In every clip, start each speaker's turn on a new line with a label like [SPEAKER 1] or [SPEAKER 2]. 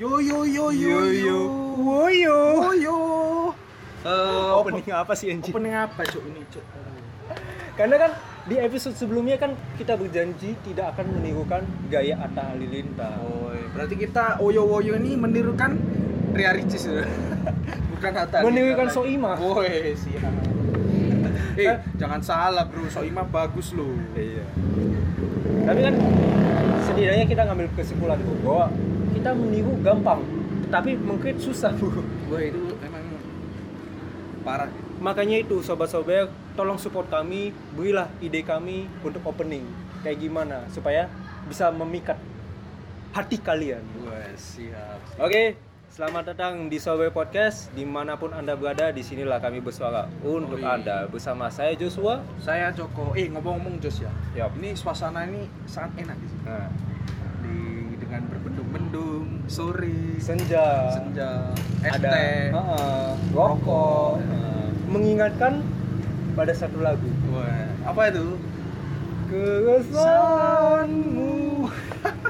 [SPEAKER 1] Yo yo yo
[SPEAKER 2] Yo, yo.
[SPEAKER 1] Woyo. Woyo.
[SPEAKER 2] Eh,
[SPEAKER 3] opening apa sih anjing?
[SPEAKER 1] Opening apa cuk ini cuk?
[SPEAKER 3] Karena kan di episode sebelumnya kan kita berjanji tidak akan menirukan gaya Atta Halilintar.
[SPEAKER 2] Boy,
[SPEAKER 1] Berarti kita Oyo Woyo ini menirukan Ria Ricis ya? Bukan Hatta
[SPEAKER 3] Menirukan Soimah.
[SPEAKER 1] Woi, siap Eh, jangan salah bro, Soimah bagus loh
[SPEAKER 3] Iya. Tapi kan setidaknya kita ngambil kesimpulan tuh bahwa kita meniru gampang, tapi mengkrit susah bro.
[SPEAKER 1] Wah itu emang parah
[SPEAKER 3] Makanya itu sobat-sobat tolong support kami, berilah ide kami untuk opening kayak gimana supaya bisa memikat hati kalian.
[SPEAKER 1] Wah siap
[SPEAKER 3] Oke, selamat datang di Sobe Podcast dimanapun anda berada di sinilah kami bersuara untuk
[SPEAKER 1] Oi.
[SPEAKER 3] anda bersama saya Joshua.
[SPEAKER 1] Saya Joko, eh ngomong-ngomong Jos ya
[SPEAKER 3] Yap.
[SPEAKER 1] Ini suasana ini sangat enak di sini.
[SPEAKER 3] Nah,
[SPEAKER 1] Di- Dengan berbendung-bendung, sore,
[SPEAKER 3] senja.
[SPEAKER 1] senja, es
[SPEAKER 3] ada
[SPEAKER 1] teh
[SPEAKER 3] heeh, rokok. heeh. mengingatkan pada satu lagu
[SPEAKER 1] Wah, apa itu?
[SPEAKER 3] keresahanmu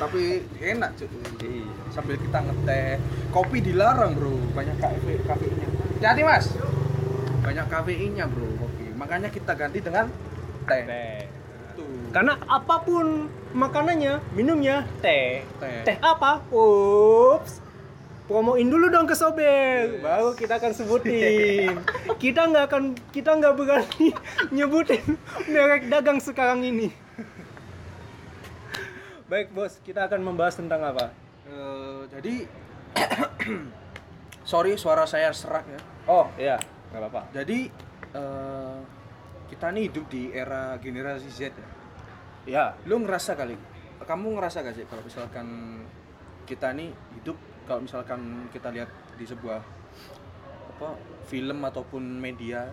[SPEAKER 1] Tapi enak cuy
[SPEAKER 3] Iya.
[SPEAKER 1] sambil kita ngeteh kopi dilarang bro banyak kafe kafeinnya jadi mas banyak kafeinnya bro kopi makanya kita ganti dengan teh
[SPEAKER 3] teh
[SPEAKER 1] tuh
[SPEAKER 3] karena apapun makanannya minumnya teh
[SPEAKER 1] Teh.
[SPEAKER 3] teh apa ups promoin dulu dong ke
[SPEAKER 1] Yes.
[SPEAKER 3] sobek baru kita akan sebutin kita nggak akan kita nggak berani nyebutin merek dagang sekarang ini baik bos kita akan membahas tentang apa
[SPEAKER 1] Eh, jadi sorry suara saya serak ya
[SPEAKER 3] oh iya nggak apa-apa
[SPEAKER 1] jadi eh, kita nih hidup di era generasi Z ya
[SPEAKER 3] ya
[SPEAKER 1] lu ngerasa kali kamu ngerasa gak sih kalau misalkan kita nih hidup kalau misalkan kita lihat di sebuah apa film ataupun media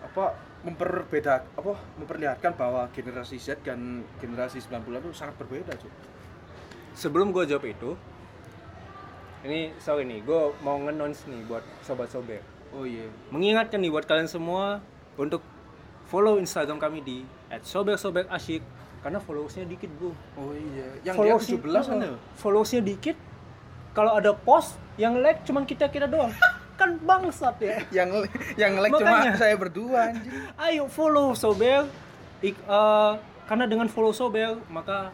[SPEAKER 1] apa memperbeda apa memperlihatkan bahwa generasi Z dan generasi 90-an itu sangat berbeda cuy.
[SPEAKER 3] sebelum gue jawab itu ini sorry nih gue mau nge-announce nih buat sobat sobek
[SPEAKER 1] Oh iya.
[SPEAKER 3] mengingatkan nih buat kalian semua untuk follow instagram kami di @sobersoberasyik karena followersnya dikit bro
[SPEAKER 1] Oh iya. Yang dia 17
[SPEAKER 3] Followersnya-
[SPEAKER 1] kan ya?
[SPEAKER 3] followersnya dikit kalau ada post yang like cuman kita kita doang kan bangsat ya
[SPEAKER 1] Yang yang like cuma
[SPEAKER 3] Makanya.
[SPEAKER 1] saya berdua anjing.
[SPEAKER 3] ayo follow sobek Ik- eh, karena dengan follow sobek maka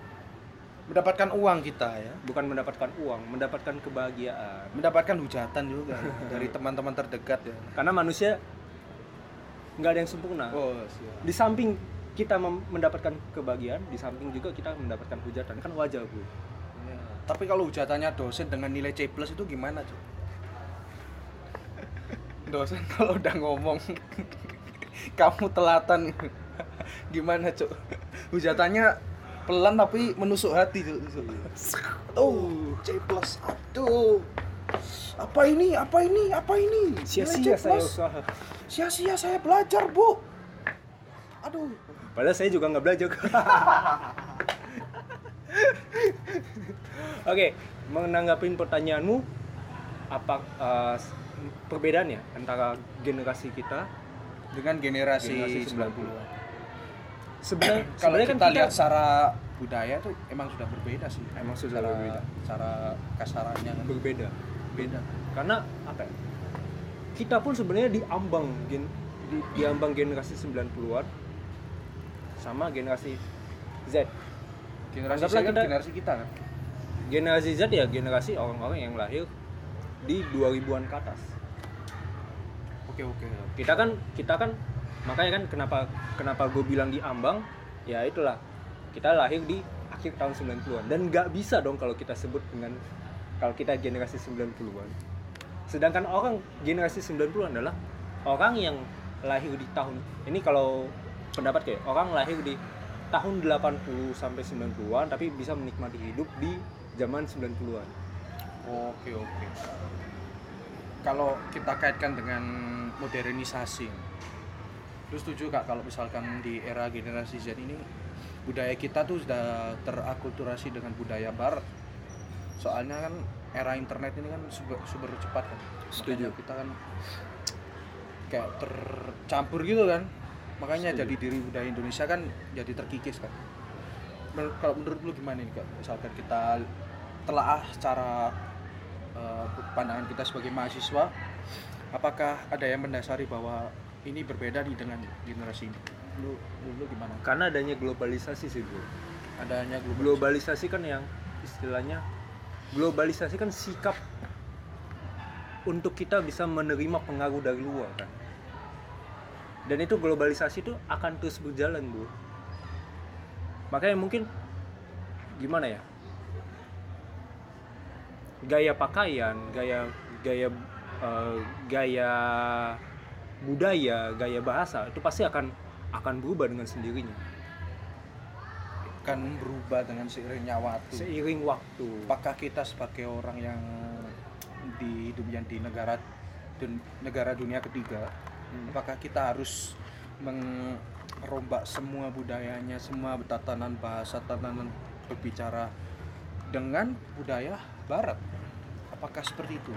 [SPEAKER 1] Mendapatkan uang kita ya.
[SPEAKER 3] bukan mendapatkan uang mendapatkan kebahagiaan
[SPEAKER 1] Mendapatkan hujatan juga ya. dari teman-teman terdekat ya.
[SPEAKER 3] karena manusia nggak ada yang sempurna
[SPEAKER 1] Oh siap.
[SPEAKER 3] di samping kita mem- mendapatkan kebahagiaan di samping juga kita mendapatkan hujatan kan wajar bu
[SPEAKER 1] Ya, Tapi kalau hujatannya dosen dengan nilai C plus itu gimana cuy? Dosen kalau udah ngomong kamu telatan gimana cuy? Hujatannya pelan tapi menusuk hati cuy.
[SPEAKER 3] Iya.
[SPEAKER 1] Oh C plus aduh apa ini apa ini apa ini Nilai
[SPEAKER 3] sia-sia
[SPEAKER 1] C+.
[SPEAKER 3] saya usaha
[SPEAKER 1] sia-sia saya belajar bu aduh
[SPEAKER 3] padahal saya juga nggak belajar oke menanggapin pertanyaanmu apa eh, s- perbedaannya antara generasi kita
[SPEAKER 1] dengan generasi,
[SPEAKER 3] Generasi
[SPEAKER 1] 90-an
[SPEAKER 3] sebenarnya
[SPEAKER 1] kalau
[SPEAKER 3] sebenarnya
[SPEAKER 1] kita,
[SPEAKER 3] kan
[SPEAKER 1] lihat secara budaya tuh emang sudah berbeda sih
[SPEAKER 3] Emang sudah
[SPEAKER 1] Secara-
[SPEAKER 3] berbeda.
[SPEAKER 1] cara kasarannya kan
[SPEAKER 3] berbeda
[SPEAKER 1] beda
[SPEAKER 3] karena apa ya, kita pun sebenarnya diambang gen di, diambang generasi 90-an sama generasi Z
[SPEAKER 1] generasi
[SPEAKER 3] Anggaplah
[SPEAKER 1] saya kan
[SPEAKER 3] kita-
[SPEAKER 1] generasi kita kan
[SPEAKER 3] generasi Z ya generasi orang-orang yang lahir di 2000-an ke atas
[SPEAKER 1] oke oke
[SPEAKER 3] kita kan kita kan makanya kan kenapa kenapa gue bilang diambang ya itulah kita lahir di akhir tahun 90-an dan nggak bisa dong kalau kita sebut dengan kalau kita generasi 90-an sedangkan orang generasi 90-an adalah orang yang lahir di tahun ini kalau pendapat kayak orang lahir di tahun 80 sampai 90-an tapi bisa menikmati hidup di zaman 90-an
[SPEAKER 1] oke oke kalau kita kaitkan dengan modernisasi terus setuju kak kalau misalkan di era generasi Z ini budaya kita tuh sudah terakulturasi dengan budaya barat soalnya kan era internet ini kan super, super cepat kan
[SPEAKER 3] Setuju.
[SPEAKER 1] Makanya kita kan kayak tercampur gitu kan makanya jadi diri budaya Indonesia kan jadi terkikis kan Menurut- kalau menurut lu gimana nih Kak? misalkan kita telaah secara eh, pandangan kita sebagai mahasiswa apakah ada yang mendasari bahwa ini berbeda di dengan generasi ini lu dulu gimana
[SPEAKER 3] Karena adanya globalisasi sih bro.
[SPEAKER 1] adanya global
[SPEAKER 3] Globalisasi kan yang istilahnya globalisasi kan sikap untuk kita bisa menerima pengaruh dari luar kan. Dan itu globalisasi itu akan terus berjalan bro. Makanya mungkin gimana ya? Gaya pakaian, gaya gaya eh, gaya budaya, gaya bahasa itu pasti akan akan berubah dengan sendirinya.
[SPEAKER 1] kan berubah dengan seiringnya waktu
[SPEAKER 3] seiring waktu
[SPEAKER 1] apakah kita sebagai orang yang di dunia di negara dun- negara dunia ketiga
[SPEAKER 3] Hmm.
[SPEAKER 1] apakah kita harus merombak semua budayanya semua tatanan bahasa tatanan berbicara dengan budaya barat apakah seperti itu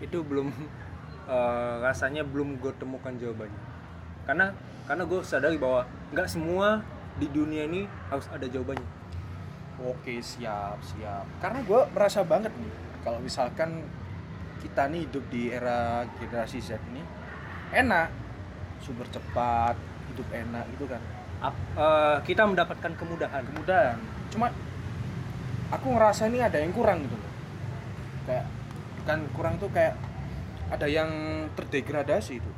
[SPEAKER 3] itu belum eh, rasanya belum gue temukan jawabannya karena karena gue sadari bahwa nggak semua di dunia ini harus ada jawabannya
[SPEAKER 1] Oke siap siap. Karena gue merasa banget nih kalau misalkan kita nih hidup di era generasi Z ini enak, super cepat, hidup enak gitu kan.
[SPEAKER 3] Ap- eh, kita mendapatkan kemudahan
[SPEAKER 1] Kemudian cuma aku ngerasa ini ada yang kurang gitu loh. Kayak kan kurang tuh kayak ada yang terdegradasi itu.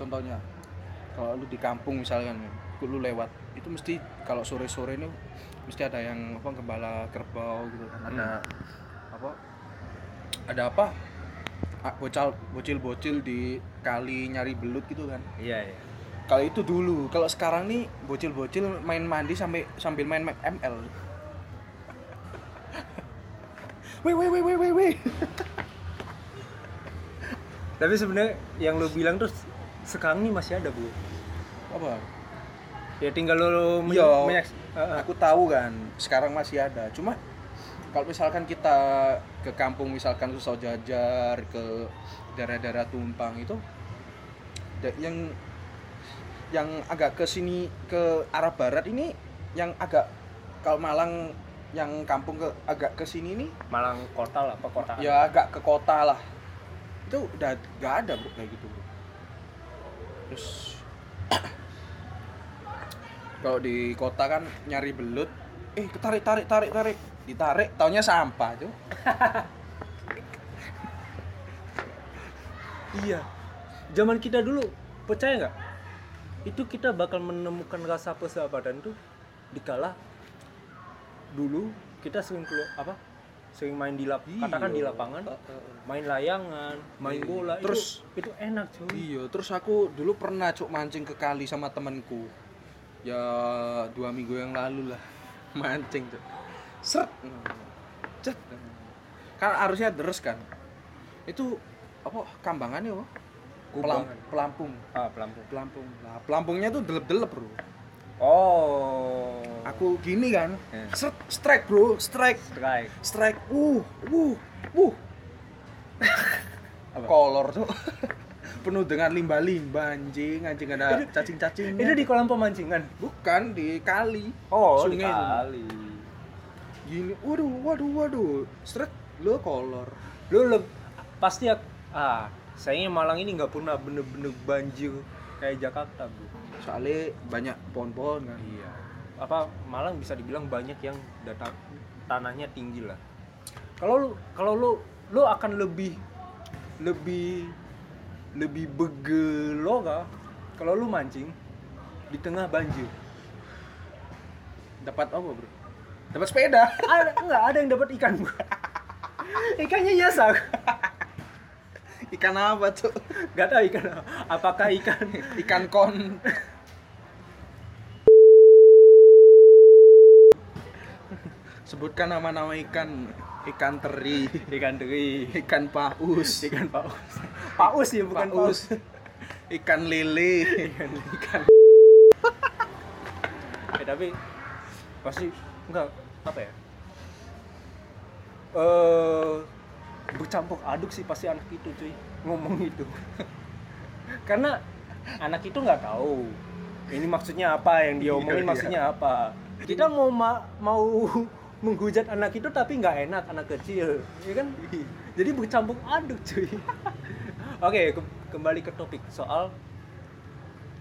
[SPEAKER 1] Contohnya kalau lu di kampung misalkan lu lewat itu mesti kalau sore-sore ini mesti ada yang apa gembala kerbau gitu
[SPEAKER 3] Hmm.
[SPEAKER 1] kan ada apa ada apa ah, bocal bocil-bocil di kali nyari belut gitu kan
[SPEAKER 3] iya iya
[SPEAKER 1] kalau itu dulu kalau sekarang nih bocil-bocil main mandi sampai sambil main ma- ML weh weh weh weh weh weh
[SPEAKER 3] tapi sebenarnya yang lo bilang tuh sekarang ini masih ada bu
[SPEAKER 1] apa
[SPEAKER 3] ya tinggal lo men-
[SPEAKER 1] Iya.
[SPEAKER 3] menyaks- eh, eh.
[SPEAKER 1] aku tahu kan sekarang masih ada cuma kalau misalkan kita ke kampung misalkan susah jajar ke daerah-daerah tumpang itu da- yang yang agak ke sini ke arah barat ini yang agak kalau Malang yang kampung ke agak ke sini nih
[SPEAKER 3] Malang kota lah apa kota
[SPEAKER 1] ya agak ke kota lah itu udah gak ada bro kayak gitu bro. terus kalau di kota kan nyari belut eh tarik tarik tarik tarik ditarik taunya sampah tuh
[SPEAKER 3] Iya. Zaman kita dulu, percaya nggak? Itu kita bakal menemukan rasa persahabatan tuh dikala dulu kita sering keluar apa? Sering main di lap, katakan di lapangan, main layangan, main
[SPEAKER 1] Iya.
[SPEAKER 3] bola.
[SPEAKER 1] Terus-
[SPEAKER 3] itu, itu enak cuy.
[SPEAKER 1] iya terus aku dulu pernah cuk mancing ke kali sama temenku ya dua minggu yang lalu lah mancing tuh seret cet kan harusnya deres kan itu apa kambangannya apa? Pelam,
[SPEAKER 3] Kubangan.
[SPEAKER 1] pelampung
[SPEAKER 3] Ah, pelampung.
[SPEAKER 1] pelampung lah pelampungnya tuh delep delep bro
[SPEAKER 3] Oh.
[SPEAKER 1] aku gini kan
[SPEAKER 3] Eh.
[SPEAKER 1] seret, strike bro strike
[SPEAKER 3] strike.
[SPEAKER 1] strike uh uh uh kolor tuh penuh dengan limba-limba anjing anjing ada cacing-cacingnya
[SPEAKER 3] Itu di kolam pemancingan.
[SPEAKER 1] bukan di kali
[SPEAKER 3] Oh,
[SPEAKER 1] Sungai itu.
[SPEAKER 3] kali.
[SPEAKER 1] gini waduh waduh waduh strike lo kolor
[SPEAKER 3] Lu leb- pasti ak- ah, sayangnya Malang ini nggak pernah bener-bener banjir kayak Jakarta, Bu.
[SPEAKER 1] soalnya banyak pohon-pohon kan
[SPEAKER 3] Iya. Apa Malang bisa dibilang banyak yang data tanahnya tinggi lah. Kalau lu kalau lu lu akan lebih lebih lebih begelora kalau lu mancing di tengah banjir.
[SPEAKER 1] dapat apa bro dapat sepeda
[SPEAKER 3] Ada enggak ada yang dapat ikan, Bu. Ikannya nyasar.
[SPEAKER 1] ikan apa tuh
[SPEAKER 3] Gak tahu ikan apa. apakah ikan
[SPEAKER 1] ikan kon sebutkan nama-nama ikan ikan teri
[SPEAKER 3] ikan teri,
[SPEAKER 1] ikan paus
[SPEAKER 3] ikan paus. Paus ya bukan paus.
[SPEAKER 1] ikan lele
[SPEAKER 3] Eh, tapi pasti enggak apa ya eh bercampur aduk sih pasti anak itu cuy ngomong itu karena anak itu nggak tahu ini maksudnya apa yang dia omongin
[SPEAKER 1] Iya,
[SPEAKER 3] maksudnya apa kita mau ma- mau menghujat anak itu tapi nggak enak anak kecil ya kan
[SPEAKER 1] Iya.
[SPEAKER 3] jadi bercampur aduk cuy oke ke- kembali ke topik soal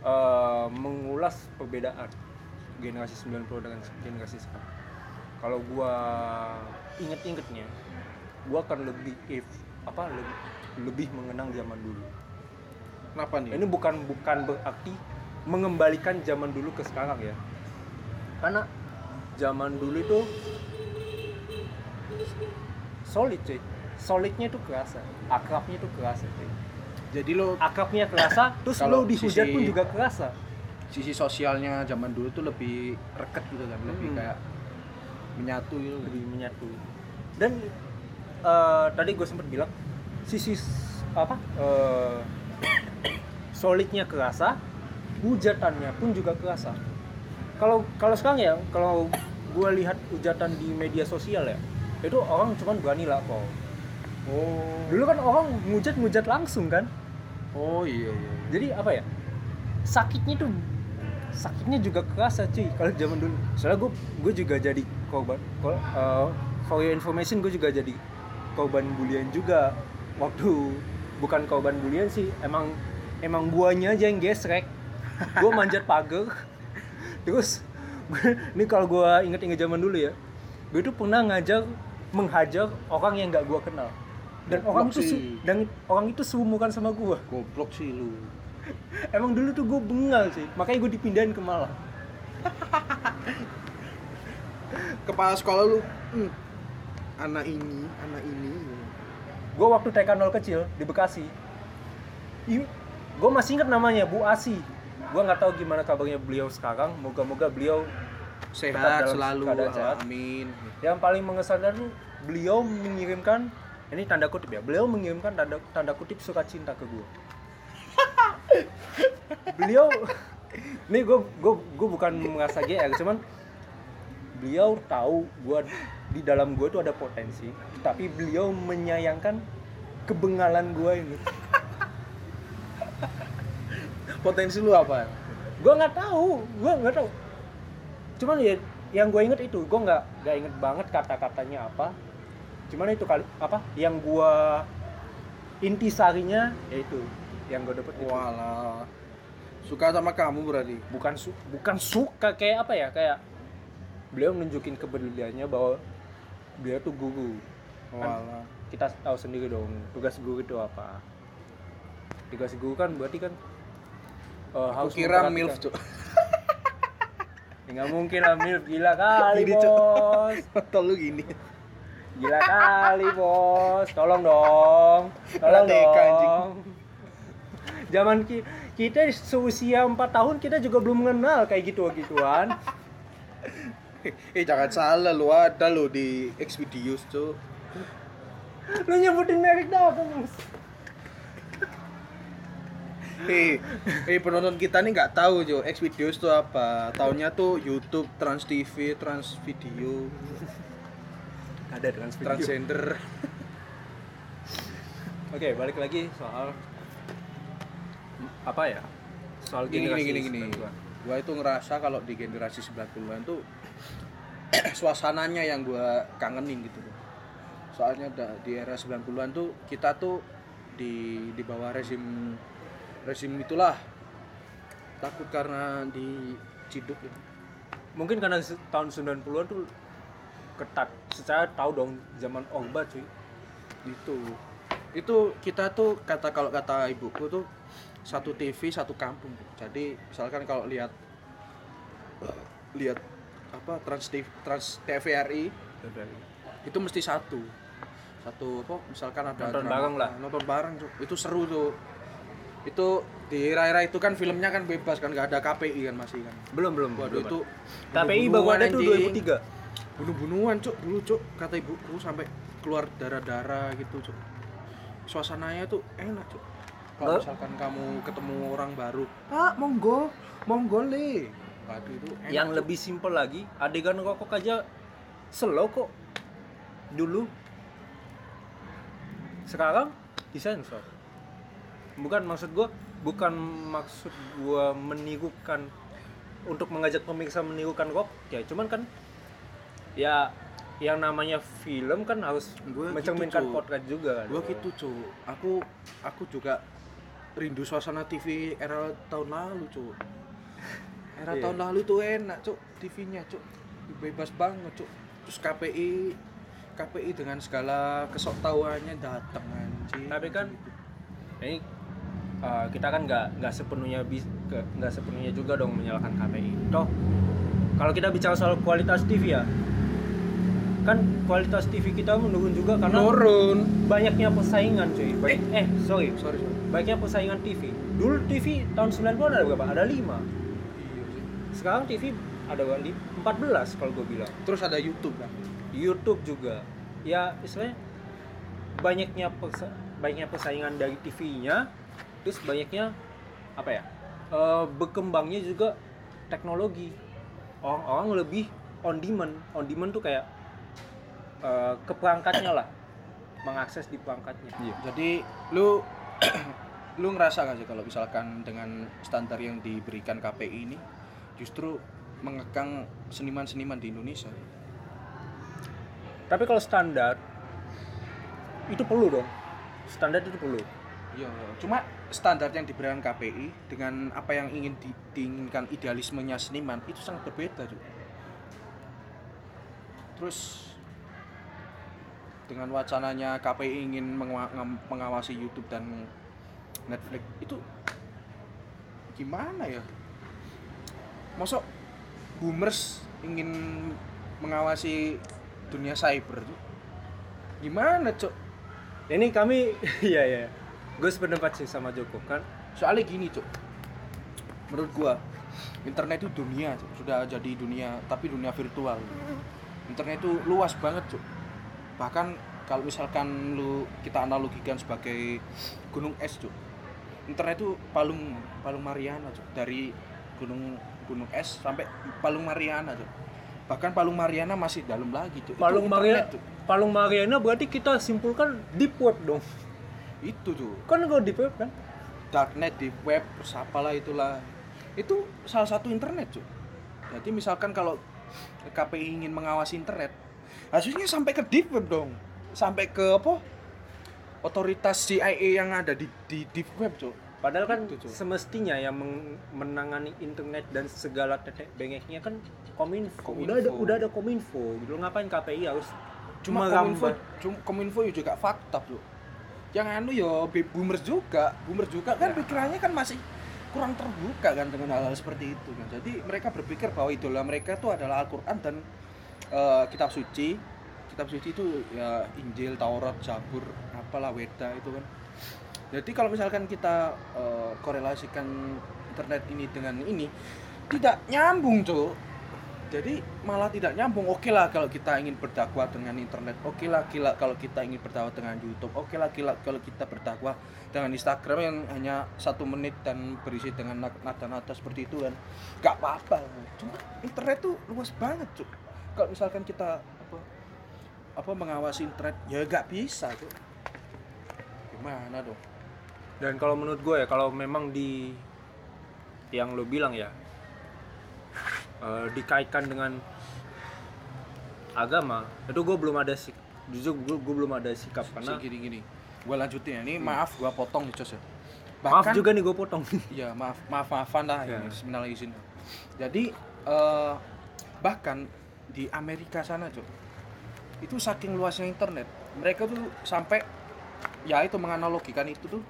[SPEAKER 3] eh, mengulas perbedaan generasi 90 dengan generasi sekarang kalau gua inget-ingetnya gua akan lebih if apa lebih, lebih mengenang zaman dulu
[SPEAKER 1] Kenapa nih?
[SPEAKER 3] ini bukan bukan berarti mengembalikan zaman dulu ke sekarang ya karena zaman dulu itu solid cuy solidnya itu kerasa akrabnya itu kerasa cuy
[SPEAKER 1] Jadi lo
[SPEAKER 3] akrabnya kerasa terus
[SPEAKER 1] Kalau
[SPEAKER 3] lo dihujat
[SPEAKER 1] sisi-
[SPEAKER 3] pun juga kerasa
[SPEAKER 1] sisi sosialnya zaman dulu tuh lebih reket gitu kan, lebih
[SPEAKER 3] Mm-mm.
[SPEAKER 1] kayak menyatu gitu.
[SPEAKER 3] lebih menyatu dan eh, tadi gue sempat bilang sisi s- apa eh, solidnya kerasa hujatannya pun juga kerasa kalau kalau sekarang ya kalau gue lihat hujatan di media sosial ya itu orang cuman berani lah kok
[SPEAKER 1] Oh.
[SPEAKER 3] dulu kan orang ngujat ngujat langsung kan
[SPEAKER 1] Oh iya iya.
[SPEAKER 3] jadi apa ya sakitnya tuh sakitnya juga kerasa cuy kalau zaman dulu soalnya gue gue juga jadi korban kol- eh, for your information gue juga jadi korban bulian juga waktu bukan korban bulian sih emang emang guanya aja yang gesrek gue manjat pagar terus ini kalau gue inget-inget zaman dulu ya gue tuh pernah ngajar menghajar orang yang nggak gue kenal dan
[SPEAKER 1] Goblok
[SPEAKER 3] orang itu
[SPEAKER 1] sih.
[SPEAKER 3] se- dan orang itu seumuran sama gue
[SPEAKER 1] Goblok sih lu.
[SPEAKER 3] Emang dulu tuh gue bengal sih, makanya gue dipindahin ke Malang.
[SPEAKER 1] Kepala sekolah lu. "Hmm, Anak ini, anak ini.
[SPEAKER 3] Gue waktu TK 0 kecil di Bekasi. Gue masih inget namanya Bu Asi. Gue nggak tahu gimana kabarnya beliau sekarang. Moga-moga beliau Tetap
[SPEAKER 1] Sehat
[SPEAKER 3] dalam
[SPEAKER 1] selalu,
[SPEAKER 3] keadaan sehat.
[SPEAKER 1] amin.
[SPEAKER 3] yang paling mengesankan tuh beliau mengirimkan ini tanda kutip ya. Beliau mengirimkan tanda tanda kutip suka cinta ke gue. beliau ini gue gue gue bukan merasa GR cuman beliau tahu gua di dalam gua tuh ada potensi tapi beliau menyayangkan kebengalan gua ini
[SPEAKER 1] Potensi lu apa?
[SPEAKER 3] gua nggak tahu gua nggak tahu cuman ya yang gue inget itu gua nggak nggak inget banget kata katanya apa cuman itu kali apa yang gua intisarinya yaitu yang gue dapet itu
[SPEAKER 1] Walah. Suka sama kamu berarti.
[SPEAKER 3] bukan su bukan suka kayak apa ya kayak beliau nunjukin kepeduliannya bahwa beliau tuh guru Kan
[SPEAKER 1] Walah.
[SPEAKER 3] kita tahu sendiri dong tugas guru itu apa tugas guru kan berarti kan eh,
[SPEAKER 1] Aku kira
[SPEAKER 3] memperhatikan.
[SPEAKER 1] milf, Cuk.
[SPEAKER 3] Ya, nggak mungkin lah milf gila kali
[SPEAKER 1] Gini, Cok.
[SPEAKER 3] bos
[SPEAKER 1] Foto lu gini.
[SPEAKER 3] gila kali bos tolong dong tolong
[SPEAKER 1] Anak TK, anjing.
[SPEAKER 3] dong zaman ki- kita seusia 4 tahun kita juga belum mengenal kayak gitu gituan
[SPEAKER 1] Eh jangan salah lu ada lu di Xvideos, Cuk.
[SPEAKER 3] lu nyebutin merek dah bos
[SPEAKER 1] Eh, eh penonton kita nih nggak tahu Jo, X videos tuh apa? Tahunnya tuh YouTube, Trans TV, Trans Video,
[SPEAKER 3] ada dengan
[SPEAKER 1] Transgender.
[SPEAKER 3] Oke, balik lagi soal apa ya? Soal
[SPEAKER 1] Gini gini
[SPEAKER 3] generasi
[SPEAKER 1] gini gini.
[SPEAKER 3] 90-an.
[SPEAKER 1] Gua itu ngerasa kalau di generasi 90-an tuh suasananya yang gua kangenin gitu loh. Soalnya da- di era 90-an tuh kita tuh di di bawah rezim rezim itulah takut karena diciduk gitu.
[SPEAKER 3] Mungkin karena se- tahun 90-an tuh ketat. Secara tahu dong zaman Orba cuy.
[SPEAKER 1] itu gitu. itu kita tuh kata kalau kata ibuku tuh satu TV satu kampung jadi misalkan kalau lihat lihat apa trans TV, trans TVRI itu mesti satu satu apa misalkan ada
[SPEAKER 3] Nonton
[SPEAKER 1] drama-
[SPEAKER 3] bareng lah.
[SPEAKER 1] nonton bareng Cuk. itu seru tuh itu di era-era itu kan filmnya kan bebas kan nggak ada KPI kan masih kan
[SPEAKER 3] Belum belum.
[SPEAKER 1] waduh itu
[SPEAKER 3] KPI baru ada tuh 2003.
[SPEAKER 1] bunuh-bunuhan cuk dulu cuk kata ibuku sampai keluar darah-darah gitu cuk suasananya tuh enak cuk kalau
[SPEAKER 3] Nggak.
[SPEAKER 1] misalkan kamu ketemu orang baru pak monggo monggo le Waduh itu enak.
[SPEAKER 3] yang lebih simpel lagi adegan rokok aja slow kok dulu sekarang disensor bukan maksud gua bukan maksud gua menirukan untuk mengajak pemirsa menirukan rokok ya cuman kan ya yang namanya film kan harus
[SPEAKER 1] Gua gitu,
[SPEAKER 3] mencerminkan
[SPEAKER 1] Cuk.
[SPEAKER 3] potret juga
[SPEAKER 1] gua
[SPEAKER 3] dong.
[SPEAKER 1] gitu cu aku aku juga rindu suasana TV era tahun lalu cu era
[SPEAKER 3] Iya.
[SPEAKER 1] tahun lalu tuh enak cu TV-nya cu bebas banget cu terus KPI KPI dengan segala kesoktauannya datang anjing Gitu.
[SPEAKER 3] Tapi kan- ini uh, kita kan nggak nggak sepenuhnya bis- ke- nggak sepenuhnya juga dong menyalahkan KPI toh kalau kita bicara soal kualitas TV ya kan kualitas TV kita menurun juga karena
[SPEAKER 1] menurun
[SPEAKER 3] banyaknya persaingan cuy Baik- eh sorry
[SPEAKER 1] sorry sorry
[SPEAKER 3] banyaknya persaingan TV dulu TV tahun 90 ada berapa ada 5
[SPEAKER 1] Iya sih.
[SPEAKER 3] sekarang TV ada berapa? Di- 14 kalau gue bilang
[SPEAKER 1] terus ada YouTube kan
[SPEAKER 3] YouTube juga ya istilahnya banyaknya persa- banyaknya persaingan dari TV-nya terus banyaknya apa ya eh, berkembangnya juga teknologi orang-orang lebih on demand on demand tuh kayak eh, ke perangkatnya lah mengakses di perangkatnya
[SPEAKER 1] Jadi lu lu ngerasa nggak sih kalau misalkan dengan standar yang diberikan KPI ini justru mengekang seniman-seniman di Indonesia?
[SPEAKER 3] tapi kalau standar itu perlu dong standar itu perlu
[SPEAKER 1] Iya. Cuma standar yang diberikan KPI dengan apa yang ingin di- diinginkan idealismenya seniman itu sangat berbeda juga. Terus dengan wacananya KPI ingin mengawa- ngem- mengawasi YouTube dan Netflix itu gimana ya? Masuk boomers ingin mengawasi dunia cyber tuh gimana cok?
[SPEAKER 3] ini kami iya iya gue sependapat sih sama Joko kan
[SPEAKER 1] soalnya gini cok menurut gua internet itu dunia Cuk. sudah jadi dunia tapi dunia virtual internet itu luas banget cok bahkan kalau misalkan lu kita analogikan sebagai gunung es cok internet itu palung palung Mariana cok dari gunung gunung es sampai palung Mariana cok bahkan palung Mariana masih dalam lagi cok Itu
[SPEAKER 3] Palung Mariana,
[SPEAKER 1] internet, Cuk.
[SPEAKER 3] Palung Mariana berarti kita simpulkan deep web dong.
[SPEAKER 1] itu cok
[SPEAKER 3] Kan kalau deep web kan?
[SPEAKER 1] darknet di web terus apalah itulah itu salah satu internet cuy jadi misalkan kalau KPI ingin mengawasi internet harusnya sampai ke deep web dong sampai ke apa otoritas CIA yang ada di di deep web cuy
[SPEAKER 3] Padahal kan
[SPEAKER 1] Itu, Cuk.
[SPEAKER 3] semestinya yang meng- menangani internet dan segala tetek bengeknya kan kominfo.
[SPEAKER 1] Kominfo.
[SPEAKER 3] Udah ada udah ada kominfo. Gitu. Ngapain KPI harus
[SPEAKER 1] cuma kominfo
[SPEAKER 3] gambar?
[SPEAKER 1] cuma kominfo ya juga fakta cuy yang anu yo be- boomers juga boomer juga kan pikirannya kan masih kurang terbuka kan dengan hal-hal seperti itu kan jadi mereka berpikir bahwa idola mereka itu adalah Al-Qur'an dan eh, kitab suci kitab suci itu ya Injil Taurat Zabur apalah Weda itu kan jadi kalau misalkan kita eh, korelasikan internet ini dengan ini tidak nyambung tuh jadi malah tidak nyambung oke lah kalau kita ingin berdakwah dengan internet oke lah gila kalau kita ingin berdakwah dengan YouTube oke lah gila kalau kita berdakwah dengan Instagram yang hanya satu menit dan berisi dengan na- nada-nada seperti itu kan gak apa-apa cuma internet tuh luas banget cuk kalau misalkan kita apa apa mengawasi internet ya gak bisa tuh gimana dong
[SPEAKER 3] Dan kalau menurut gue ya kalau memang di yang lo bilang ya eh, dikaitkan dengan agama itu gue belum ada sik jujur gue, belum ada sikap karena Hmm.
[SPEAKER 1] gini gini gue lanjutin ya ini maaf gue potong nih Jos ya
[SPEAKER 3] maaf juga nih gue potong
[SPEAKER 1] ya maaf maaf maafan lah
[SPEAKER 3] Ya.
[SPEAKER 1] ini sebenarnya izin jadi eh, bahkan di Amerika sana cok itu saking luasnya internet mereka tuh sampai ya itu menganalogikan itu tuh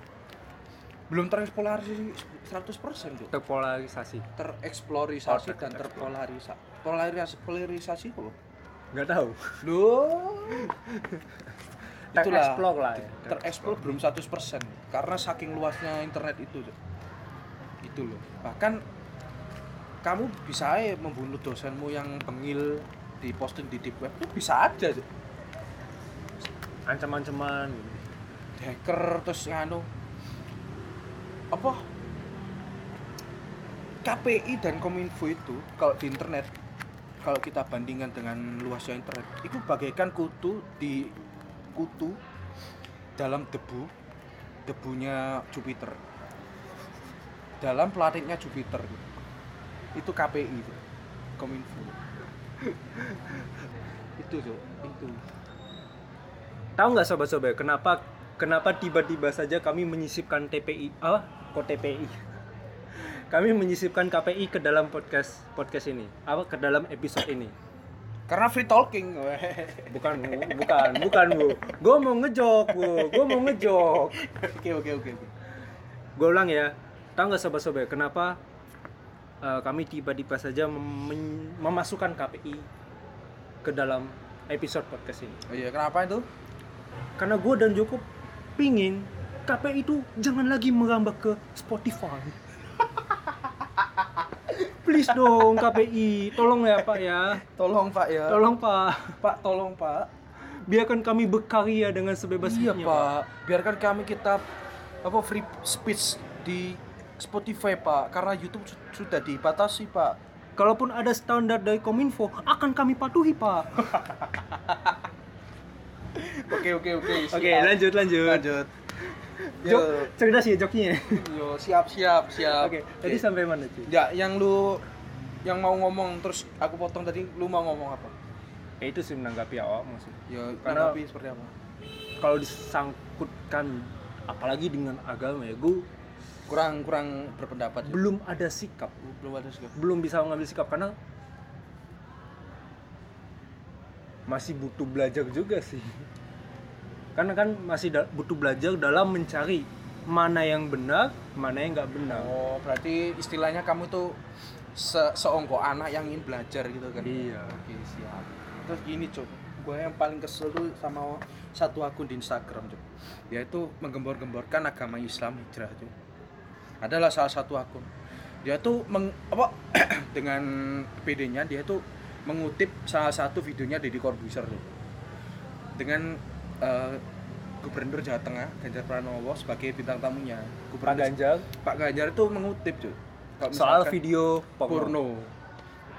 [SPEAKER 1] belum tereksplorasi 100% cok
[SPEAKER 3] terpolarisasi
[SPEAKER 1] tereksplorisasi
[SPEAKER 3] Oh, ter-
[SPEAKER 1] dan terpolarisasi polarisasi polarisasi kok
[SPEAKER 3] nggak tahu
[SPEAKER 1] loh Itulah.
[SPEAKER 3] Terexplore lah ya.
[SPEAKER 1] tereksplor belum 100% karena saking luasnya internet itu Cok. gitu loh bahkan kamu bisa aja membunuh dosenmu yang bengil di posting di deep web itu bisa aja Cok.
[SPEAKER 3] Ancaman-ancaman.
[SPEAKER 1] hacker terus nganu apa KPI dan Kominfo itu kalau di internet kalau kita bandingkan dengan luasnya internet itu bagaikan kutu di kutu dalam debu debunya Jupiter dalam planetnya Jupiter itu KPI itu Kominfo itu tuh itu
[SPEAKER 3] Tahu nggak sobat-sobat kenapa kenapa tiba-tiba saja kami menyisipkan TPI ah kok TPI? Kami menyisipkan KPI ke dalam podcast podcast ini apa ke dalam episode ini?
[SPEAKER 1] karena free talking
[SPEAKER 3] Bukan Bu, bukan bukan bu. Gue mau ngejok bu. Gue mau ngejok.
[SPEAKER 1] oke oke oke oke.
[SPEAKER 3] Gue ulang ya. Tahu nggak sobat-sobat kenapa eh, kami tiba-tiba saja mem- men- memasukkan KPI ke dalam episode podcast ini?
[SPEAKER 1] Oh iya kenapa itu
[SPEAKER 3] karena gue dan Joko pingin KPI itu jangan lagi merambah ke Spotify. Please dong KPI, tolong ya Pak ya,
[SPEAKER 1] tolong pak ya
[SPEAKER 3] tolong Pak,
[SPEAKER 1] pak tolong pak
[SPEAKER 3] biarkan kami berkarya dengan ya, sebebasnya
[SPEAKER 1] iya pak biarkan kami kita apa free speech di Spotify pak karena YouTube su- sudah dibatasi pak
[SPEAKER 3] Kalaupun ada standar dari Kominfo, akan kami patuhi Pak.
[SPEAKER 1] oke oke oke
[SPEAKER 3] Oke lanjut lanjut.
[SPEAKER 1] lanjut
[SPEAKER 3] Jok, cerdas ya joknya.
[SPEAKER 1] yo siap siap siap
[SPEAKER 3] Oke, jadi sampai mana sih?
[SPEAKER 1] ya yang lu yang mau ngomong terus aku potong tadi lu mau ngomong apa
[SPEAKER 3] Ya, itu sih menanggapi awak maksud.
[SPEAKER 1] ya
[SPEAKER 3] Karena-
[SPEAKER 1] tapi seperti apa
[SPEAKER 3] Kalau disangkutkan apalagi dengan agama ya, gue
[SPEAKER 1] kurang kurang berpendapat ya.
[SPEAKER 3] belum ada sikap
[SPEAKER 1] belum ada sikap
[SPEAKER 3] belum bisa mengambil sikap karena masih butuh belajar juga sih karena kan masih da- butuh belajar dalam mencari mana yang benar mana yang nggak benar
[SPEAKER 1] oh berarti istilahnya kamu tuh se seongkok anak yang ingin belajar gitu kan
[SPEAKER 3] iya
[SPEAKER 1] Oke siap. Terus gini cok, gue yang paling kesel tuh sama satu akun di Instagram cok, yaitu menggembor-gemborkan agama Islam hijrah cok. Adalah salah satu akun. Dia tuh meng, apa dengan PD-nya dia tuh mengutip salah satu videonya Deddy Corbuzier cok. dengan eh, Gubernur Jawa Tengah Ganjar Pranowo sebagai bintang tamunya.
[SPEAKER 3] Pak
[SPEAKER 1] Gubernur
[SPEAKER 3] Ganjar
[SPEAKER 1] Pak Ganjar itu mengutip cok. Kalau
[SPEAKER 3] soal
[SPEAKER 1] misalkan-
[SPEAKER 3] video porno,
[SPEAKER 1] porno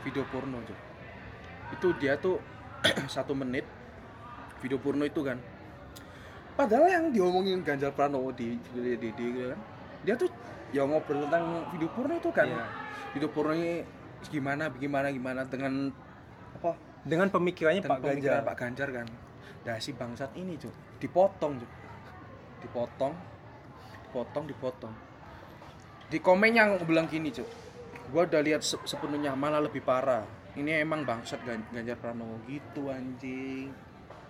[SPEAKER 1] video porno Cuk. itu dia tuh satu menit video porno itu kan padahal yang diomongin Ganjar Pranowo di di, di, di- gitu kan dia tuh ya ngobrol tentang video porno itu kan
[SPEAKER 3] Iya.
[SPEAKER 1] video porno ini gimana gimana gimana dengan apa
[SPEAKER 3] dengan pemikirannya
[SPEAKER 1] dengan
[SPEAKER 3] Pak
[SPEAKER 1] pemikiran
[SPEAKER 3] Ganjar
[SPEAKER 1] Pak Ganjar kan nah si bangsat ini cuy dipotong cuy dipotong dipotong dipotong di komen yang bilang gini cuy gua udah lihat se- sepenuhnya malah lebih parah ini emang bangsat Gan- Ganjar Pranowo gitu anjing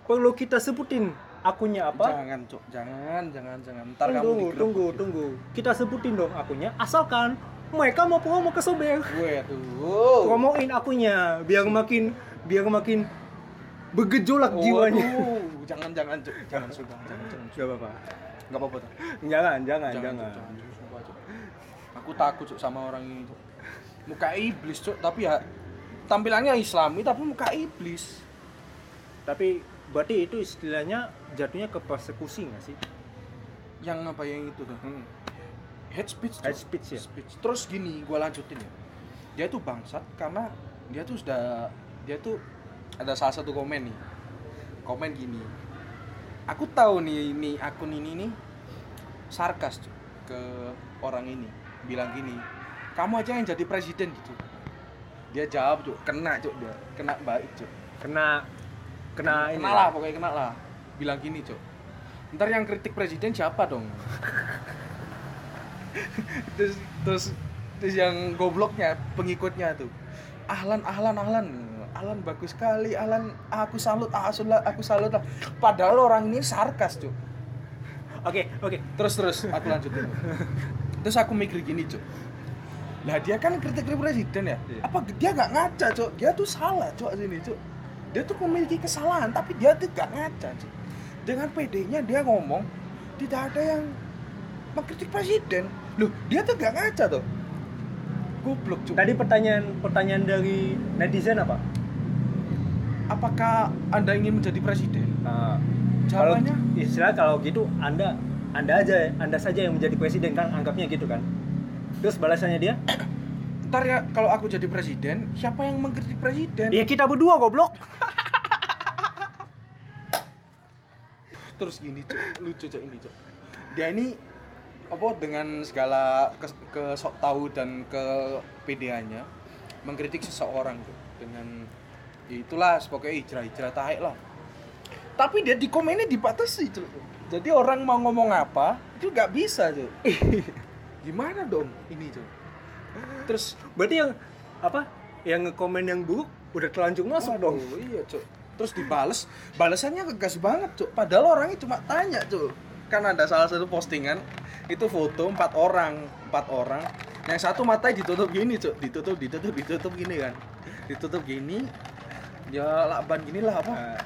[SPEAKER 3] perlu kita sebutin akunnya apa
[SPEAKER 1] jangan cuy jangan jangan jangan ntar kamu ya.
[SPEAKER 3] tunggu
[SPEAKER 1] digerebek,
[SPEAKER 3] tunggu
[SPEAKER 1] Cuk.
[SPEAKER 3] tunggu kita sebutin dong akunnya asalkan mereka mau promo ke sobek
[SPEAKER 1] gue tuh
[SPEAKER 3] promoin akunya biar makin biar makin bergejolak jiwanya
[SPEAKER 1] jangan jangan cuy jangan sudah jangan jangan
[SPEAKER 3] Gak apa-apa
[SPEAKER 1] nggak apa-apa Cuk.
[SPEAKER 3] jangan jangan jangan,
[SPEAKER 1] jangan, Cuk, jangan, Cuk, sumpah, Cuk. aku takut Cuk, sama orang ini Cuk. muka iblis Cuk, tapi ya tampilannya islami tapi muka iblis
[SPEAKER 3] tapi berarti itu istilahnya jatuhnya ke persekusi nggak sih
[SPEAKER 1] yang apa yang itu tuh
[SPEAKER 3] Hmm.
[SPEAKER 1] head speech Cuk.
[SPEAKER 3] Hate speech ya?
[SPEAKER 1] Speech. terus gini gua lanjutin ya dia tuh bangsat karena dia tuh sudah dia tuh ada salah satu komen nih komen gini aku tahu nih ini akun ini nih sarkas Cuk, ke orang ini bilang gini kamu aja yang jadi presiden gitu dia jawab cuk kena cuk dia kena baik cuk
[SPEAKER 3] kena kena ini ya?
[SPEAKER 1] kena lah pokoknya kena lah bilang gini cuk ntar yang kritik presiden siapa dong terus terus terus yang gobloknya pengikutnya tuh ahlan ahlan ahlan ahlan bagus sekali ahlan aku salut ah, aku salut aku salut lah padahal orang ini sarkas cuk
[SPEAKER 3] oke oke
[SPEAKER 1] terus terus aku lanjutin terus aku mikir gini cuk lah dia kan kritik kritik presiden ya
[SPEAKER 3] Iya.
[SPEAKER 1] apa dia nggak ngaca cuk dia tuh salah cuk sini cuk dia tuh memiliki kesalahan tapi dia tuh nggak ngaca cuk dengan PD-nya dia ngomong tidak ada yang mengkritik presiden loh dia tuh nggak ngaca tuh goblok cuk
[SPEAKER 3] tadi pertanyaan pertanyaan dari netizen apa
[SPEAKER 1] apakah anda ingin menjadi presiden
[SPEAKER 3] Ah, kalau
[SPEAKER 1] jawabannya
[SPEAKER 3] istilah kalau gitu anda anda aja anda saja yang menjadi presiden kan anggapnya gitu kan terus balasannya dia
[SPEAKER 1] ntar ya kalau aku jadi presiden siapa yang mengkritik presiden
[SPEAKER 3] Ya kita berdua goblok.
[SPEAKER 1] terus gini cok lucu cok ini cok dia ini apa dengan segala ke, ke sok tahu dan ke nya mengkritik seseorang Cok. dengan ya itulah pokoknya hijrah-hijrah taek lah tapi dia di komennya dibatasi cok jadi orang mau ngomong apa itu nggak bisa cok gimana dong ini cok terus
[SPEAKER 3] Berarti yang apa? Yang ngekomen yang buruk udah telanjung masuk
[SPEAKER 1] Waduh,
[SPEAKER 3] dong.
[SPEAKER 1] iya cok terus dibales balasannya ngegas banget cok padahal orangnya cuma tanya cok kan ada salah satu postingan itu foto empat orang empat orang yang satu matanya ditutup gini cok ditutup ditutup ditutup gini kan ditutup gini ya lakban gini lah apa
[SPEAKER 3] Nah,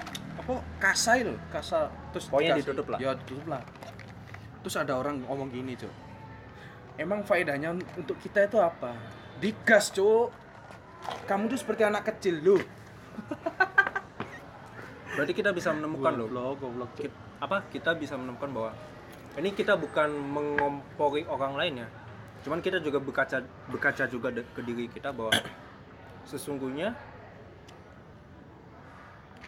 [SPEAKER 1] apa kasai loh kasa terus
[SPEAKER 3] Pokoknya
[SPEAKER 1] dikasih-
[SPEAKER 3] ditutup lah.
[SPEAKER 1] ya ditutup lah terus ada orang ngomong gini cok emang faedahnya un- untuk kita itu apa digas cok kamu tuh seperti anak kecil loh
[SPEAKER 3] berarti kita bisa menemukan loh.
[SPEAKER 1] Goblok, goblok, Cok.
[SPEAKER 3] Ki- apa kita bisa menemukan bahwa ini kita bukan mengompori orang lain ya cuman kita juga berkaca berkaca juga de- ke diri kita bahwa sesungguhnya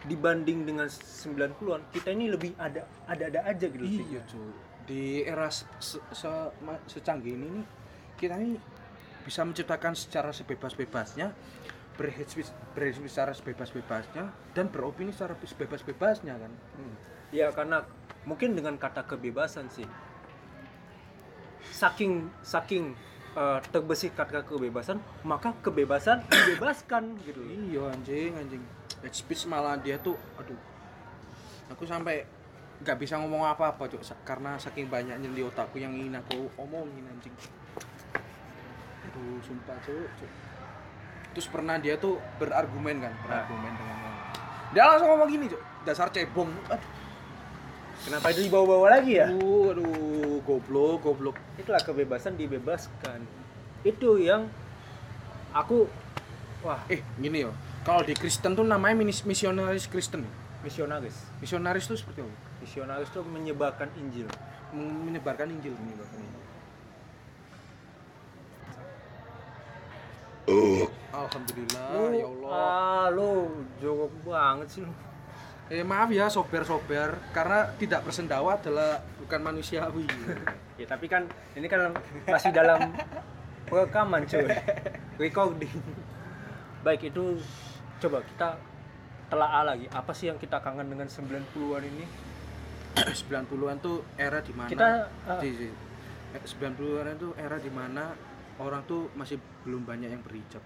[SPEAKER 3] dibanding dengan 90-an kita ini lebih ada ada-ada aja gitu sih.
[SPEAKER 1] Iya cuy. Di era se, se, se- ma- secanggih ini nih, kita nih bisa menciptakan secara sebebas-bebasnya, berhead speech, berhead speech secara sebebas-bebasnya, dan beropini secara sebebas-bebasnya kan.
[SPEAKER 3] Hmm. ya karena mungkin dengan kata kebebasan sih saking saking eh, terbesit kata kebebasan maka kebebasan dibebaskan gitu loh.
[SPEAKER 1] Iya anjing anjing. Head speech malah dia tuh, aduh, aku sampai nggak bisa ngomong apa-apa cok sa- karena saking banyaknya di otakku yang ingin aku omongin anjing. Aduh, sumpah cok. cok. Terus pernah dia tuh berargumen kan, berargumen dengan orang. Dia langsung ngomong gini cok, dasar cebong. Aduh,
[SPEAKER 3] kenapa itu dibawa-bawa lagi ya
[SPEAKER 1] aduh, aduh, goblok, goblok.
[SPEAKER 3] itulah kebebasan dibebaskan itu yang aku wah
[SPEAKER 1] Eh, gini yo. Kalau di Kristen tuh namanya minis- misionaris Kristen. ya.
[SPEAKER 3] misionaris
[SPEAKER 1] Misionaris tuh seperti apa?
[SPEAKER 3] misionaris itu menyebarkan Injil
[SPEAKER 1] Men- Menyebarkan Injil, menyebarkan Injil. Alhamdulillah,
[SPEAKER 3] Oh.
[SPEAKER 1] ya Allah.
[SPEAKER 3] ah, lu jorok banget sih lu
[SPEAKER 1] Eh maaf ya sober-sober, karena tidak bersendawa adalah bukan manusiawi.
[SPEAKER 3] ya tapi kan ini kan masih dalam rekaman cuy recording baik itu coba kita telaah lagi apa sih yang kita kangen dengan 90-an ini
[SPEAKER 1] 90-an tuh era di mana?
[SPEAKER 3] kita eh,
[SPEAKER 1] Di- di- eh, 90-an tuh era di mana orang tuh masih belum banyak yang berhijab.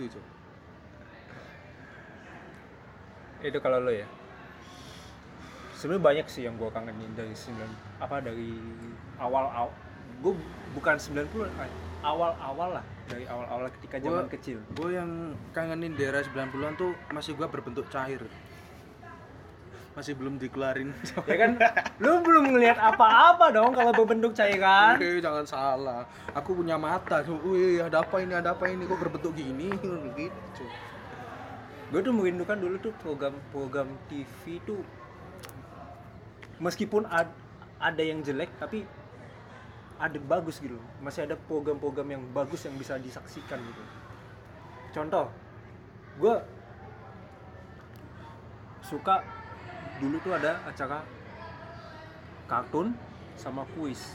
[SPEAKER 1] Itu, Cok.
[SPEAKER 3] itu kalau lo ya sebenarnya banyak sih yang gue kangenin dari 9 apa dari awal awal gue bukan 90 awal awal lah dari awal awal ketika
[SPEAKER 1] Gua-
[SPEAKER 3] zaman kecil
[SPEAKER 1] Gue yang kangenin di era 90-an tuh masih gua berbentuk cair. Masih belum dikelarin.
[SPEAKER 3] ya kan lu belum ngelihat apa-apa dong kalau berbentuk cairan
[SPEAKER 1] Eh, jangan salah. Aku punya mata. tuh. Wih, ada apa ini? Ada apa ini? Kok berbentuk gini? gitu.
[SPEAKER 3] gue tuh merindukan dulu tuh program-program TV tuh meskipun ad- ada yang jelek tapi ada bagus gitu loh. masih ada program-program yang bagus yang bisa disaksikan gitu contoh gue suka dulu tuh ada acara kartun sama kuis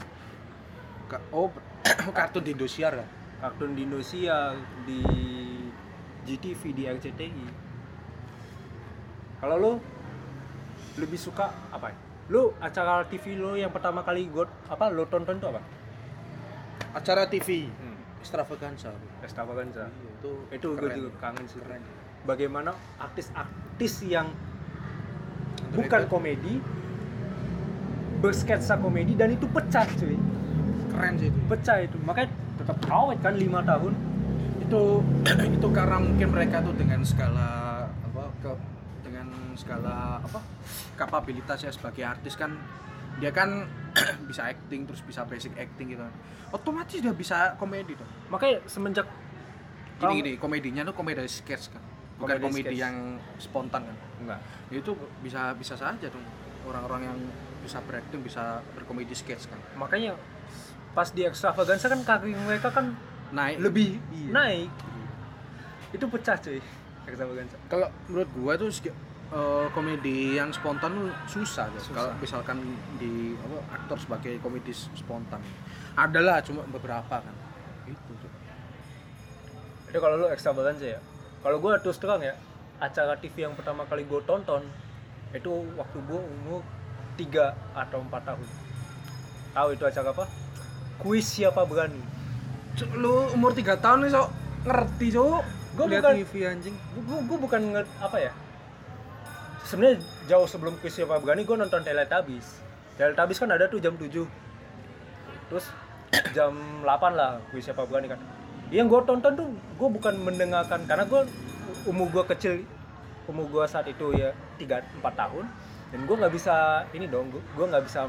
[SPEAKER 1] Ka- Oh, kartun di Indosiar ya?
[SPEAKER 3] kartun di Indonesia di GTV di RCTI kalau lo lebih suka apa lo acara TV lo yang pertama kali gue apa lo tonton tuh apa
[SPEAKER 1] Acara TV
[SPEAKER 3] hmm.
[SPEAKER 1] Extravaganza. Iya,
[SPEAKER 3] Extravaganza
[SPEAKER 1] Itu
[SPEAKER 3] itu gue
[SPEAKER 1] Hmm. keren.
[SPEAKER 3] juga kangen sih
[SPEAKER 1] Keren.
[SPEAKER 3] bagaimana artis-artis yang bukan komedi bersketsa komedi dan itu pecah cuy
[SPEAKER 1] keren sih itu.
[SPEAKER 3] pecah itu makanya tetap awet kan lima tahun
[SPEAKER 1] Itu itu karena mungkin mereka tuh dengan skala apa ke- dengan skala apa kapabilitasnya sebagai artis kan dia kan bisa acting terus bisa basic acting gitu otomatis dia bisa komedi dong
[SPEAKER 3] makanya semenjak
[SPEAKER 1] gini gini komedinya tuh komedi sketch kan bukan
[SPEAKER 3] Komedi
[SPEAKER 1] komedi,
[SPEAKER 3] sketch.
[SPEAKER 1] yang spontan kan
[SPEAKER 3] enggak
[SPEAKER 1] Ya itu bisa bisa saja dong orang-orang yang bisa berakting bisa berkomedi sketch kan
[SPEAKER 3] makanya pas di extravaganza kan kaki mereka kan
[SPEAKER 1] naik
[SPEAKER 3] lebih
[SPEAKER 1] Iya.
[SPEAKER 3] naik itu pecah cuy extravaganza
[SPEAKER 1] kalau menurut gua tuh segi- eh, komedi yang spontan tuh susah, tuh.
[SPEAKER 3] Susah.
[SPEAKER 1] kalau misalkan di apa, aktor sebagai komedi s- spontan adalah cuma beberapa kan itu
[SPEAKER 3] itu kalau lu extravaganza ya kalau gue terus terang ya acara TV yang pertama kali gue tonton itu waktu gue umur 3 atau 4 tahun tahu itu acara apa kuis siapa berani
[SPEAKER 1] lu umur 3 tahun nih sok ngerti sok
[SPEAKER 3] Gua
[SPEAKER 1] lihat
[SPEAKER 3] bukan-
[SPEAKER 1] TV anjing
[SPEAKER 3] gue bukan nge, apa ya sebenarnya jauh sebelum kuis siapa berani gue nonton Teletubbies Teletubbies kan ada tuh jam 7 terus jam 8 lah kuis siapa berani kan yang gue tonton tuh gue bukan mendengarkan karena gue umur gue kecil umur gue saat itu ya 3 4 tahun dan gue nggak bisa ini dong gue nggak bisa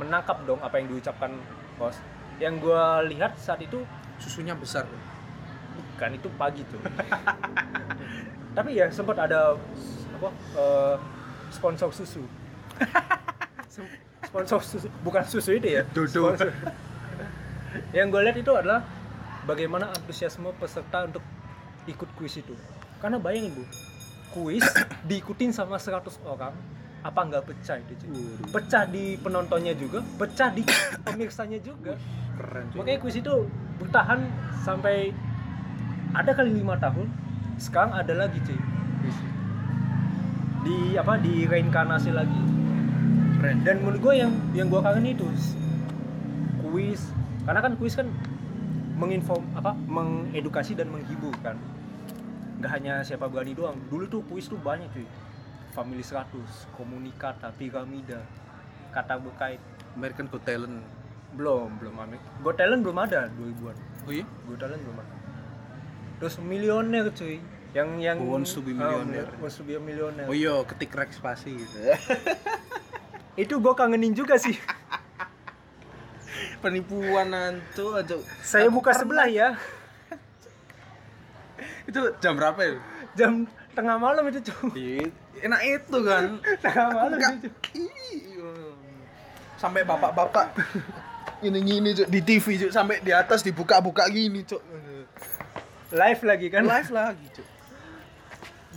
[SPEAKER 3] menangkap dong apa yang diucapkan bos yang gue lihat saat itu
[SPEAKER 1] susunya besar
[SPEAKER 3] kan itu pagi tuh tapi ya sempat ada apa eh, sponsor susu Sem- sponsor susu bukan susu itu ya
[SPEAKER 1] Dodo.
[SPEAKER 3] Sponsor. yang gue lihat itu adalah bagaimana antusiasme peserta untuk ikut kuis itu karena bayangin bu kuis diikutin sama 100 orang apa nggak pecah itu cuy?
[SPEAKER 1] Waduh.
[SPEAKER 3] pecah di penontonnya juga pecah di pemirsanya juga
[SPEAKER 1] keren cuy.
[SPEAKER 3] Makanya kuis itu bertahan sampai ada kali lima tahun. Sekarang ada lagi cuy. kuis. Di apa di reinkarnasi lagi.
[SPEAKER 1] keren
[SPEAKER 3] Dan menurut gue yang yang gue kangen itu s- kuis. Karena kan kuis kan menginform apa mengedukasi dan menghibur kan. Gak hanya siapa berani doang. Dulu tuh kuis tuh banyak cuy. Family 100, komunikata, piramida, kata berkait.
[SPEAKER 1] American Got Talent
[SPEAKER 3] Belum, belum ada. Got Talent belum ada 2000-an.
[SPEAKER 1] oh iya
[SPEAKER 3] Gue talent belum ada. Terus milioner cuy. Yang yang
[SPEAKER 1] Who wants to be
[SPEAKER 3] Ah,
[SPEAKER 1] millionaire?
[SPEAKER 3] who wants to be a millionaire.
[SPEAKER 1] oh iya ketik rek spasi gitu
[SPEAKER 3] Itu gue kangenin juga sih.
[SPEAKER 1] penipuan nantu aja
[SPEAKER 3] Saya buka sebelah ya.
[SPEAKER 1] itu jam berapa ya
[SPEAKER 3] Jam tengah malam itu cuy.
[SPEAKER 1] enak itu kan
[SPEAKER 3] Tengah malam
[SPEAKER 1] Enggak.
[SPEAKER 3] itu cuy.
[SPEAKER 1] hmm. sampai bapak-bapak ini gini cuk di TV cuk sampai di atas dibuka-buka gini cuk
[SPEAKER 3] Live lagi kan.
[SPEAKER 1] live lagi cuk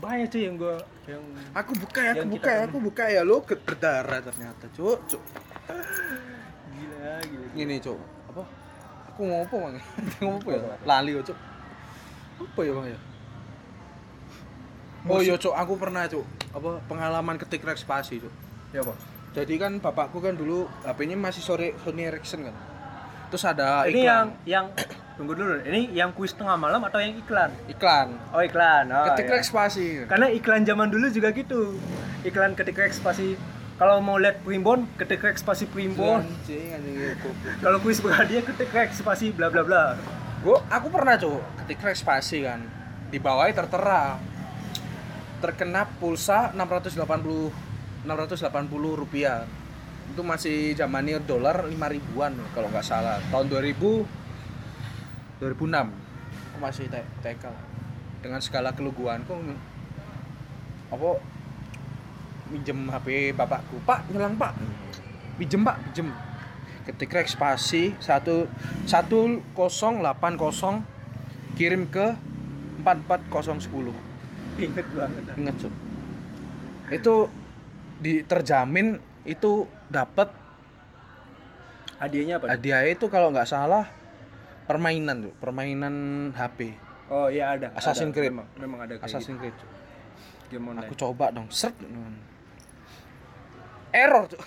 [SPEAKER 3] Banyak cuy yang gue yang
[SPEAKER 1] aku buka ya aku
[SPEAKER 3] Yang kita
[SPEAKER 1] buka ya
[SPEAKER 3] temen.
[SPEAKER 1] aku buka ya lo ke- berdarah ternyata cuk cuk
[SPEAKER 3] gila gitu.
[SPEAKER 1] gini cuk apa aku mau apa bang ngomong apa ya lali oh, cuk apa ya bang ya oh iya cuk aku pernah cuk apa pengalaman ketik rek spasi cuk
[SPEAKER 3] Ya bos.
[SPEAKER 1] jadi kan bapakku kan dulu HP-nya masih sore Sony Ericsson kan terus ada Ah,
[SPEAKER 3] Ini
[SPEAKER 1] iklan
[SPEAKER 3] yang yang tunggu dulu. Ini yang kuis tengah malam atau yang iklan?
[SPEAKER 1] iklan
[SPEAKER 3] Oh iklan. Oh,
[SPEAKER 1] ketik
[SPEAKER 3] ya.
[SPEAKER 1] rek spasi
[SPEAKER 3] Karena iklan zaman dulu juga gitu. Iklan ketik rek spasi kalau mau lihat primbon, ketik rek spasi primbon.
[SPEAKER 1] Iya, Anjing, anjing, goblok.
[SPEAKER 3] Kalau kuis berhadiah ketik rek spasi bla bla bla.
[SPEAKER 1] Gua, aku pernah cuk ketik rek spasi kan di bawahnya tertera terkena pulsa 680 680 rupiah itu masih zamannya dolar 5 ribuan kalau nggak salah tahun 2000 2006 aku masih T- TK dengan segala keluguanku apa minjem HP bapakku pak nyelang pak pinjem pak pinjem ketik rek spasi satu satu kosong delapan kosong kirim ke empat empat kosong sepuluh
[SPEAKER 3] Inget banget.
[SPEAKER 1] ingat Cuk. itu di terjamin itu dapat
[SPEAKER 3] Hadiahnya apa?
[SPEAKER 1] hadiah itu kalau nggak salah permainan Cuk. permainan HP
[SPEAKER 3] Oh iya ada.
[SPEAKER 1] Assassin's
[SPEAKER 3] ada.
[SPEAKER 1] Creed.
[SPEAKER 3] Memang, memang ada kayak
[SPEAKER 1] Assassin's Creed Cuk.
[SPEAKER 3] gitu. game online.
[SPEAKER 1] aku coba dong seret error Cuk.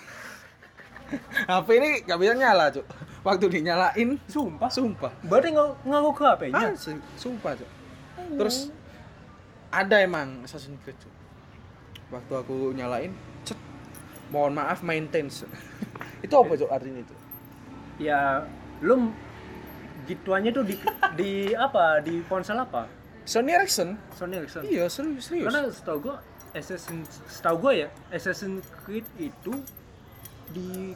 [SPEAKER 1] HP ini nggak bisa nyala Cuk. waktu dinyalain
[SPEAKER 3] Sumpah.
[SPEAKER 1] sumpah
[SPEAKER 3] Berarti nggak ngaku ke HP-nya?
[SPEAKER 1] Ah, se- sumpah Cuk. Terus ada emang Assassin's Creed Cuk. Waktu aku nyalain, cet. Mohon maaf maintenance. itu apa Cuk artinya itu?
[SPEAKER 3] ya lu gituannya tuh di di apa? Di ponsel apa?
[SPEAKER 1] Sony Ericsson?
[SPEAKER 3] Sony Ericsson.
[SPEAKER 1] Iya, serius serius.
[SPEAKER 3] Karena setahu gua Assassin setahu gua ya Assassin's Creed itu di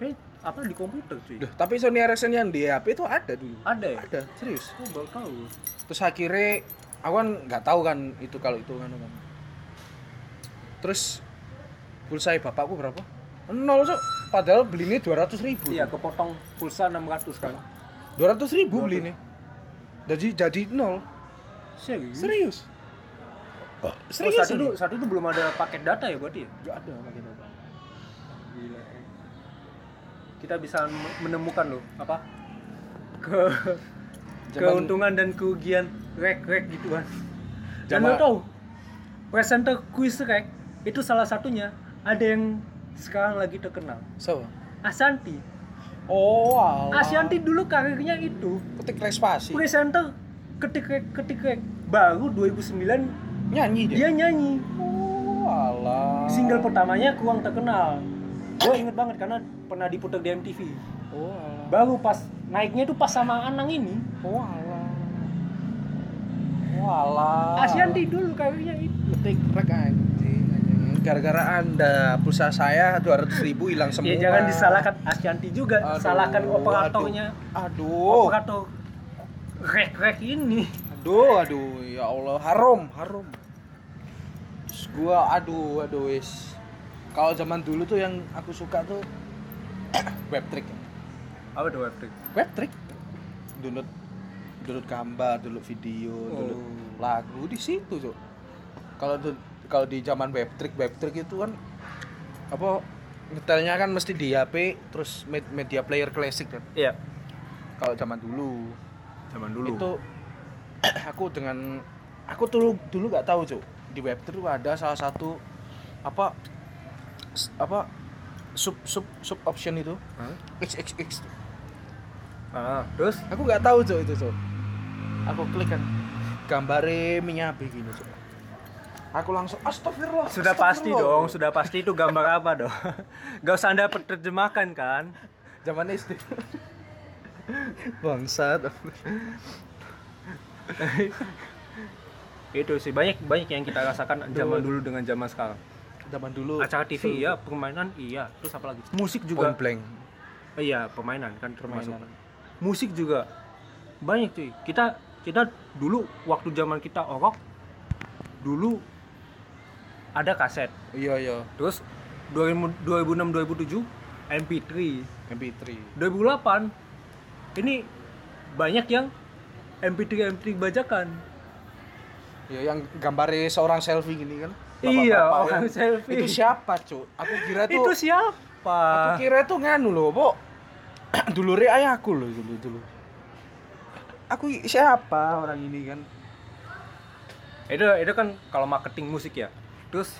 [SPEAKER 3] eh, apa di komputer cuy.
[SPEAKER 1] Duh, tapi Sony Ericsson yang di HP itu ada dulu.
[SPEAKER 3] Ada ya?
[SPEAKER 1] Ada, serius.
[SPEAKER 3] Gua baru tahu.
[SPEAKER 1] Terus akhirnya aku kan nggak tahu kan itu kalau itu kan. kan. Terus pulsa bapakku berapa? Nol, Cuk. padahal belinya dua ratus ribu
[SPEAKER 3] Iya, kepotong pulsa 600 kan.
[SPEAKER 1] dua ratus ribu belinya jadi jadi nol
[SPEAKER 3] Serius?
[SPEAKER 1] serius
[SPEAKER 3] Hmm. Oh,
[SPEAKER 1] serius
[SPEAKER 3] saat itu,
[SPEAKER 1] ini.
[SPEAKER 3] saat itu belum ada paket data ya berarti ya?
[SPEAKER 1] Nggak ada pakai data.
[SPEAKER 3] Gila. Kita bisa m- menemukan loh apa? Ke
[SPEAKER 1] Zaman-
[SPEAKER 3] keuntungan dan kerugian rek-rek gituan. Dan
[SPEAKER 1] Zaman-
[SPEAKER 3] lo tau, presenter kuis rek itu salah satunya ada yang sekarang lagi terkenal.
[SPEAKER 1] Siapa?
[SPEAKER 3] Ashanti.
[SPEAKER 1] oh alah.
[SPEAKER 3] Ashanti dulu karirnya itu
[SPEAKER 1] ketik respasi
[SPEAKER 3] presenter ketik rek ketik rek baru 2009
[SPEAKER 1] nyanyi dia
[SPEAKER 3] dia nyanyi
[SPEAKER 1] oh alah
[SPEAKER 3] Iya. single pertamanya kurang terkenal gue inget banget karena pernah diputar di MTV
[SPEAKER 1] oh alah
[SPEAKER 3] baru pas naiknya itu pas sama Anang ini
[SPEAKER 1] oh alah oh alah
[SPEAKER 3] Asyanti dulu karirnya itu
[SPEAKER 1] ketik rek anjing anjing. gara-gara anda pulsa saya 200.000 ribu hilang semua
[SPEAKER 3] ya jangan disalahkan Asyanti juga
[SPEAKER 1] Aduh,
[SPEAKER 3] salahkan operatornya
[SPEAKER 1] aduh
[SPEAKER 3] operator rek-rek ini
[SPEAKER 1] aduh aduh ya Allah harum harum Terus gua aduh aduh wis kalau zaman dulu tuh yang aku suka tuh web trick
[SPEAKER 3] apa tuh webtrick
[SPEAKER 1] web trick download download gambar download video download
[SPEAKER 3] Oh.
[SPEAKER 1] lagu di situ tuh kalau du- kalau di zaman web trick web trick itu kan apa nyetelnya kan mesti di HP terus med- media player klasik kan
[SPEAKER 3] iya
[SPEAKER 1] kalau zaman dulu
[SPEAKER 3] zaman
[SPEAKER 1] itu aku dengan aku dulu dulu nggak tahu cuk di web itu ada salah satu apa s- apa sub sub sub option itu
[SPEAKER 3] Hah?
[SPEAKER 1] xxx
[SPEAKER 3] ah, terus
[SPEAKER 1] aku nggak tahu cuk itu cuk aku klik kan gambare minyabi gini cuk aku langsung astagfirullah
[SPEAKER 3] sudah pasti
[SPEAKER 1] astagfirullah."
[SPEAKER 3] dong sudah pasti itu gambar apa dong gak usah anda terjemahkan kan
[SPEAKER 1] zaman SD bangsat
[SPEAKER 3] itu sih banyak banyak yang kita rasakan zaman dulu dengan zaman sekarang
[SPEAKER 1] zaman dulu
[SPEAKER 3] acara TV iya permainan iya terus apa lagi musik
[SPEAKER 1] point
[SPEAKER 3] juga
[SPEAKER 1] blank
[SPEAKER 3] Eh, iya permainan kan termasuk musik juga banyak cuy kita kita dulu waktu zaman kita orok dulu ada kaset
[SPEAKER 1] iya iya
[SPEAKER 3] terus 2000 2006 2007 MP3
[SPEAKER 1] MP3
[SPEAKER 3] 2008 ini banyak yang MP3 MP3 bajakan
[SPEAKER 1] Ya, yang gambarnya seorang selfie gini kan?
[SPEAKER 3] Iya,
[SPEAKER 1] Bapak-bapak
[SPEAKER 3] orang
[SPEAKER 1] yang-
[SPEAKER 3] selfie.
[SPEAKER 1] Itu siapa, Cuk? Aku kira tuh
[SPEAKER 3] itu siapa
[SPEAKER 1] aku kira tuh nganu loh, Pok. dulure ayahku loh dulu dulu. Aku i- siapa orang ini kan?
[SPEAKER 3] itu itu kan kalau marketing musik ya terus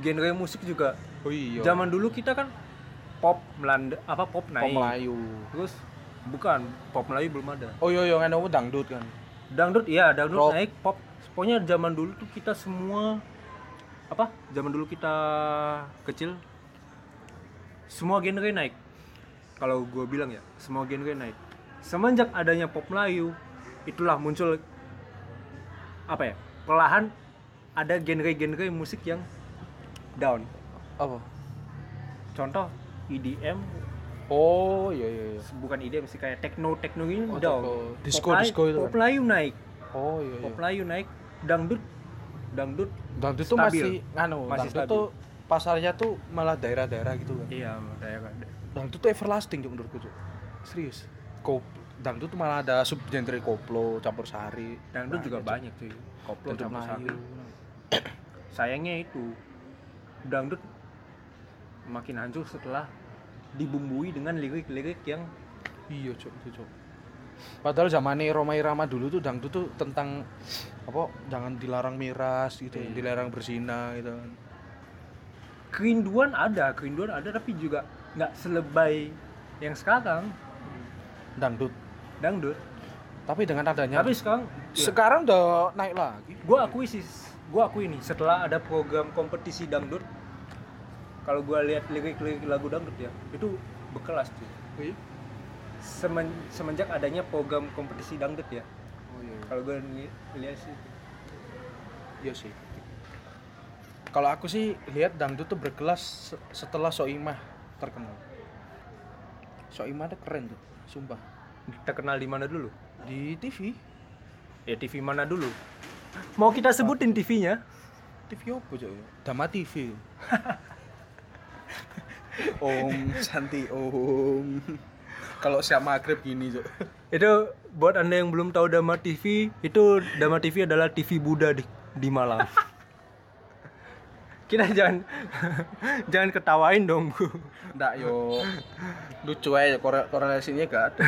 [SPEAKER 3] genre musik juga
[SPEAKER 1] Oh iya.
[SPEAKER 3] zaman dulu kita kan pop melanda apa
[SPEAKER 1] Pop
[SPEAKER 3] pop naik
[SPEAKER 1] Melayu.
[SPEAKER 3] terus bukan pop Melayu belum ada
[SPEAKER 1] Oh iya iya nganu dangdut kan.
[SPEAKER 3] dangdut iya dangdut
[SPEAKER 1] Rock.
[SPEAKER 3] naik pop pokoknya zaman dulu tuh kita semua apa zaman dulu kita kecil semua genre naik kalau gue bilang ya semua genre naik semenjak adanya pop Melayu itulah muncul apa ya perlahan ada genre-genre musik yang down
[SPEAKER 1] Apa?
[SPEAKER 3] contoh E EDM
[SPEAKER 1] Oh iya iya iya.
[SPEAKER 3] bukan EDM sih kayak techno techno ini
[SPEAKER 1] Oh, techno.
[SPEAKER 3] down Pop
[SPEAKER 1] Disco,
[SPEAKER 3] Melayu-
[SPEAKER 1] disco itu
[SPEAKER 3] pop
[SPEAKER 1] kan?
[SPEAKER 3] Melayu naik
[SPEAKER 1] Oh iya iya.
[SPEAKER 3] pop Melayu naik dangdut dangdut
[SPEAKER 1] Dangdut tuh
[SPEAKER 3] Stabil.
[SPEAKER 1] masih nganu,
[SPEAKER 3] Masih
[SPEAKER 1] dangdut
[SPEAKER 3] stabil.
[SPEAKER 1] tuh pasarnya tuh malah daerah-daerah gitu kan.
[SPEAKER 3] iya kayak
[SPEAKER 1] dangdut tuh everlasting Cuk, menurutku Cuk. serius kop dangdut tuh malah ada sub genre koplo campur sari
[SPEAKER 3] dangdut juga banyak cuy koplo
[SPEAKER 1] Nah, dangdut
[SPEAKER 3] campur
[SPEAKER 1] Melayu
[SPEAKER 3] sari sayangnya itu dangdut makin hancur setelah dibumbui dengan lirik-lirik yang
[SPEAKER 1] iya cok itu cok padahal zamannya Roma Irama dulu tuh dangdut tuh tentang apa jangan dilarang miras gitu
[SPEAKER 3] Iya.
[SPEAKER 1] dilarang berzina gitu
[SPEAKER 3] kerinduan ada kerinduan ada tapi juga nggak selebay yang sekarang
[SPEAKER 1] dangdut
[SPEAKER 3] dangdut
[SPEAKER 1] tapi dengan adanya
[SPEAKER 3] tapi sekarang ya,
[SPEAKER 1] sekarang udah naik lagi
[SPEAKER 3] gue akui sih gue akui nih setelah ada program kompetisi dangdut kalau gue lihat lirik-lirik lagu dangdut ya itu berkelas tuh Semen- semenjak adanya program kompetisi dangdut ya
[SPEAKER 1] oh iya
[SPEAKER 3] kalau gue lihat sih
[SPEAKER 1] iya sih kalau aku sih lihat dangdut tuh berkelas se- setelah Soimah terkenal Soimah tuh keren tuh sumpah
[SPEAKER 3] terkenal di mana dulu
[SPEAKER 1] di TV
[SPEAKER 3] ya TV mana dulu mau kita sebutin TV-nya
[SPEAKER 1] TV apa cok Dama TV Om Santi Om. Kalau siap maghrib gini, Cuk.
[SPEAKER 3] Itu buat anda yang belum tahu Dharma TV, itu Dharma TV adalah TV Buddha di, di Malang. Kita jangan jangan ketawain dong, Bu.
[SPEAKER 1] Ndak yo. Lucu aja kore- korelasinya gak ada.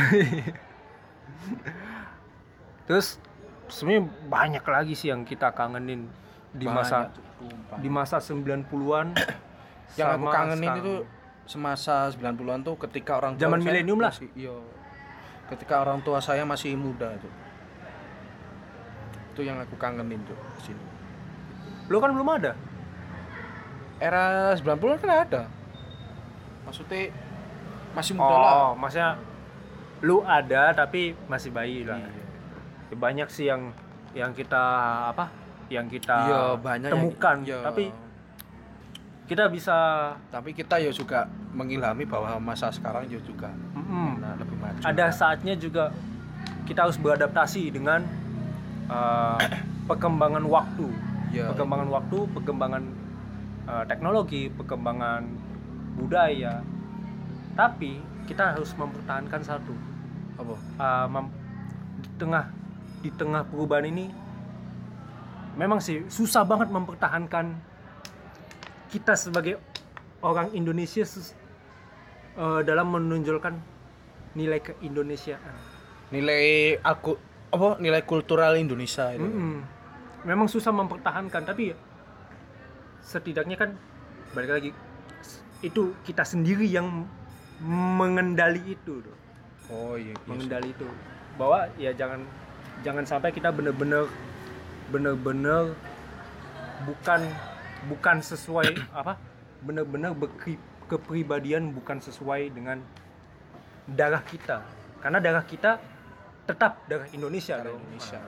[SPEAKER 3] Terus sebenarnya banyak lagi sih yang kita kangenin di masa
[SPEAKER 1] Banyak, Cuk. Sumpah.
[SPEAKER 3] di masa 90-an
[SPEAKER 1] yang aku
[SPEAKER 3] sama
[SPEAKER 1] kangenin
[SPEAKER 3] sekarang.
[SPEAKER 1] itu semasa 90-an tuh ketika orang tua
[SPEAKER 3] Zaman
[SPEAKER 1] saya
[SPEAKER 3] milenium lah.
[SPEAKER 1] masih- Iya. Ketika orang tua saya masih muda tuh. Itu yang aku kangenin tuh di sini.
[SPEAKER 3] Lu kan belum ada.
[SPEAKER 1] Era 90-an kan ada. Maksudnya masih muda lah.
[SPEAKER 3] Oh, maksudnya lu ada tapi masih bayi
[SPEAKER 1] Iya.
[SPEAKER 3] lah. Ya, banyak sih yang yang kita apa? Yang kita
[SPEAKER 1] Iya, banyak yang-
[SPEAKER 3] temukan,
[SPEAKER 1] iya.
[SPEAKER 3] tapi kita bisa
[SPEAKER 1] tapi kita ya juga mengilhami bahwa masa sekarang ya juga
[SPEAKER 3] mm,
[SPEAKER 1] nah, lebih maju.
[SPEAKER 3] ada saatnya juga kita harus beradaptasi dengan uh, perkembangan waktu,
[SPEAKER 1] Ya,
[SPEAKER 3] perkembangan waktu, perkembangan uh, teknologi, perkembangan budaya. Tapi kita harus mempertahankan satu,
[SPEAKER 1] apa?
[SPEAKER 3] uh, mem- di tengah di tengah perubahan ini memang sih susah banget mempertahankan kita sebagai orang Indonesia sus- eh, dalam menonjolkan nilai keindonesiaan.
[SPEAKER 1] Nilai aku apa nilai kultural Indonesia itu.
[SPEAKER 3] Mm-mm. Memang susah mempertahankan tapi setidaknya kan balik lagi s- itu kita sendiri yang mengendali itu. Doh.
[SPEAKER 1] Oh iya. iya.
[SPEAKER 3] mengendali itu bahwa ya jangan jangan sampai kita bener-bener bener-bener bukan bukan sesuai apa bener-bener berkri- kepribadian bukan sesuai dengan darah kita karena darah kita tetap darah Indonesia
[SPEAKER 1] Negara
[SPEAKER 3] dong
[SPEAKER 1] Indonesia.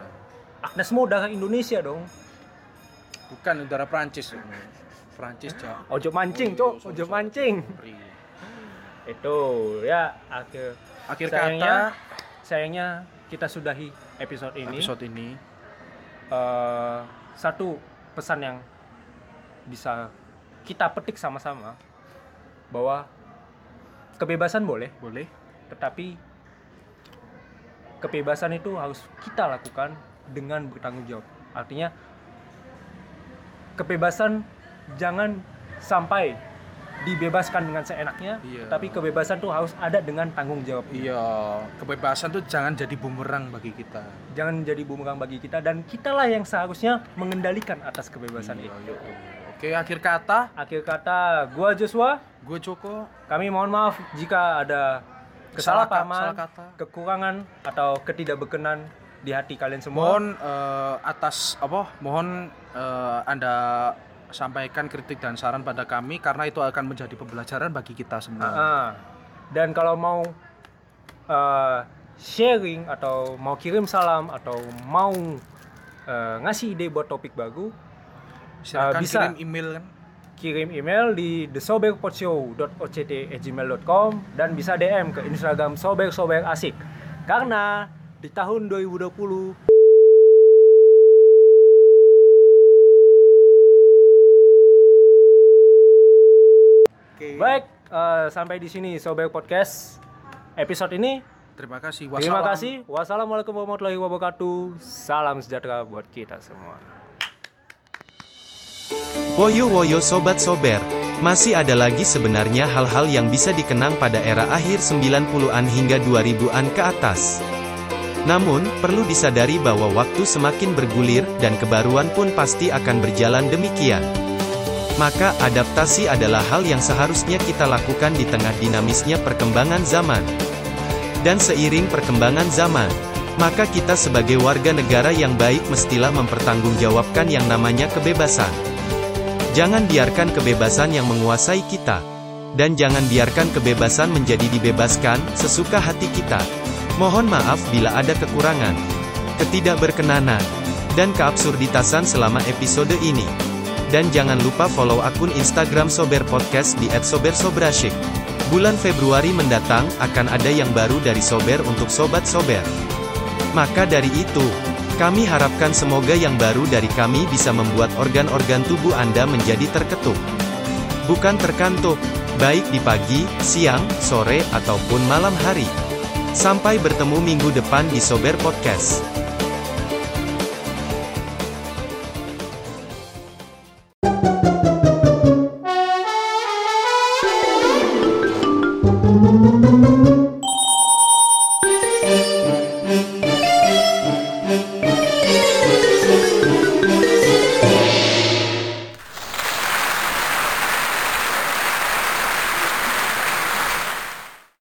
[SPEAKER 3] Agnesmo darah Indonesia dong
[SPEAKER 1] Bukan negara Prancis. Prancis Jawa.
[SPEAKER 3] ojo mancing
[SPEAKER 1] Oh,
[SPEAKER 3] cok
[SPEAKER 1] iya,
[SPEAKER 3] ojo
[SPEAKER 1] sorry,
[SPEAKER 3] mancing
[SPEAKER 1] sorry.
[SPEAKER 3] itu ya akhir
[SPEAKER 1] Akhir
[SPEAKER 3] Sayangnya,
[SPEAKER 1] kata
[SPEAKER 3] sayangnya kita sudahi episode ini
[SPEAKER 1] episode ini
[SPEAKER 3] eh, satu pesan yang bisa kita petik sama-sama bahwa kebebasan boleh,
[SPEAKER 1] boleh
[SPEAKER 3] tetapi kebebasan itu harus kita lakukan dengan bertanggung jawab. Artinya kebebasan jangan sampai dibebaskan dengan seenaknya,
[SPEAKER 1] Iya.
[SPEAKER 3] tapi kebebasan tuh harus ada dengan tanggung jawab.
[SPEAKER 1] iya kebebasan tuh jangan jadi bumerang bagi kita
[SPEAKER 3] Jangan jadi bumerang bagi kita dan kitalah yang seharusnya mengendalikan atas kebebasan
[SPEAKER 1] Iya, iya,
[SPEAKER 3] itu.
[SPEAKER 1] iya. oke akhir kata
[SPEAKER 3] Akhir kata, gua Joshua.
[SPEAKER 1] gue Joko
[SPEAKER 3] Kami mohon maaf jika ada
[SPEAKER 1] Salah ka- salah
[SPEAKER 3] kesalahpahaman,
[SPEAKER 1] kata.
[SPEAKER 3] kekurangan atau ketidakberkenan di hati kalian semua.
[SPEAKER 1] mohon eh, atas apa mohon eh, anda sampaikan kritik dan saran pada kami karena itu akan menjadi pembelajaran bagi kita semua
[SPEAKER 3] Ah. dan kalau mau eh, sharing atau mau kirim salam atau mau eh, ngasih ide buat topik baru,
[SPEAKER 1] silakan
[SPEAKER 3] eh, bisa.
[SPEAKER 1] kirim email kan
[SPEAKER 3] kirim email di thesoberpodshow.oct@gmail.com dan bisa DM ke Instagram sobersoberasik asik. Karena di tahun 2020 Baik, eh, sampai di sini Sobek Podcast episode ini.
[SPEAKER 1] terima kasih
[SPEAKER 3] Terima
[SPEAKER 1] Wassalam.
[SPEAKER 3] kasih. Wassalamualaikum warahmatullahi wabarakatuh. Salam sejahtera buat kita semua.
[SPEAKER 2] Woyo woyo sobat sober. Masih ada lagi sebenarnya hal-hal yang bisa dikenang pada era akhir 90-an hingga 2000-an ke atas. Namun, perlu disadari bahwa waktu semakin bergulir, dan kebaruan pun pasti akan berjalan demikian. Maka, adaptasi adalah hal yang seharusnya kita lakukan di tengah dinamisnya perkembangan zaman. Dan seiring perkembangan zaman, maka kita sebagai warga negara yang baik mestilah mempertanggungjawabkan yang namanya kebebasan. Jangan biarkan kebebasan yang menguasai kita. Dan jangan biarkan kebebasan menjadi dibebaskan, sesuka hati kita. Mohon maaf bila ada kekurangan, ketidakberkenanan, dan keabsurditasan selama episode ini. Dan jangan lupa follow akun Instagram Sober Podcast di @sobersobrasik. Bulan Februari mendatang, akan ada yang baru dari Sober untuk Sobat Sober. Maka dari itu, kami harapkan semoga yang baru dari kami bisa membuat organ-organ tubuh Anda menjadi terketuk. Bukan terkantuk, baik di pagi, siang, sore, ataupun malam hari. Sampai bertemu minggu depan di Sober Podcast.
[SPEAKER 4] Thank you.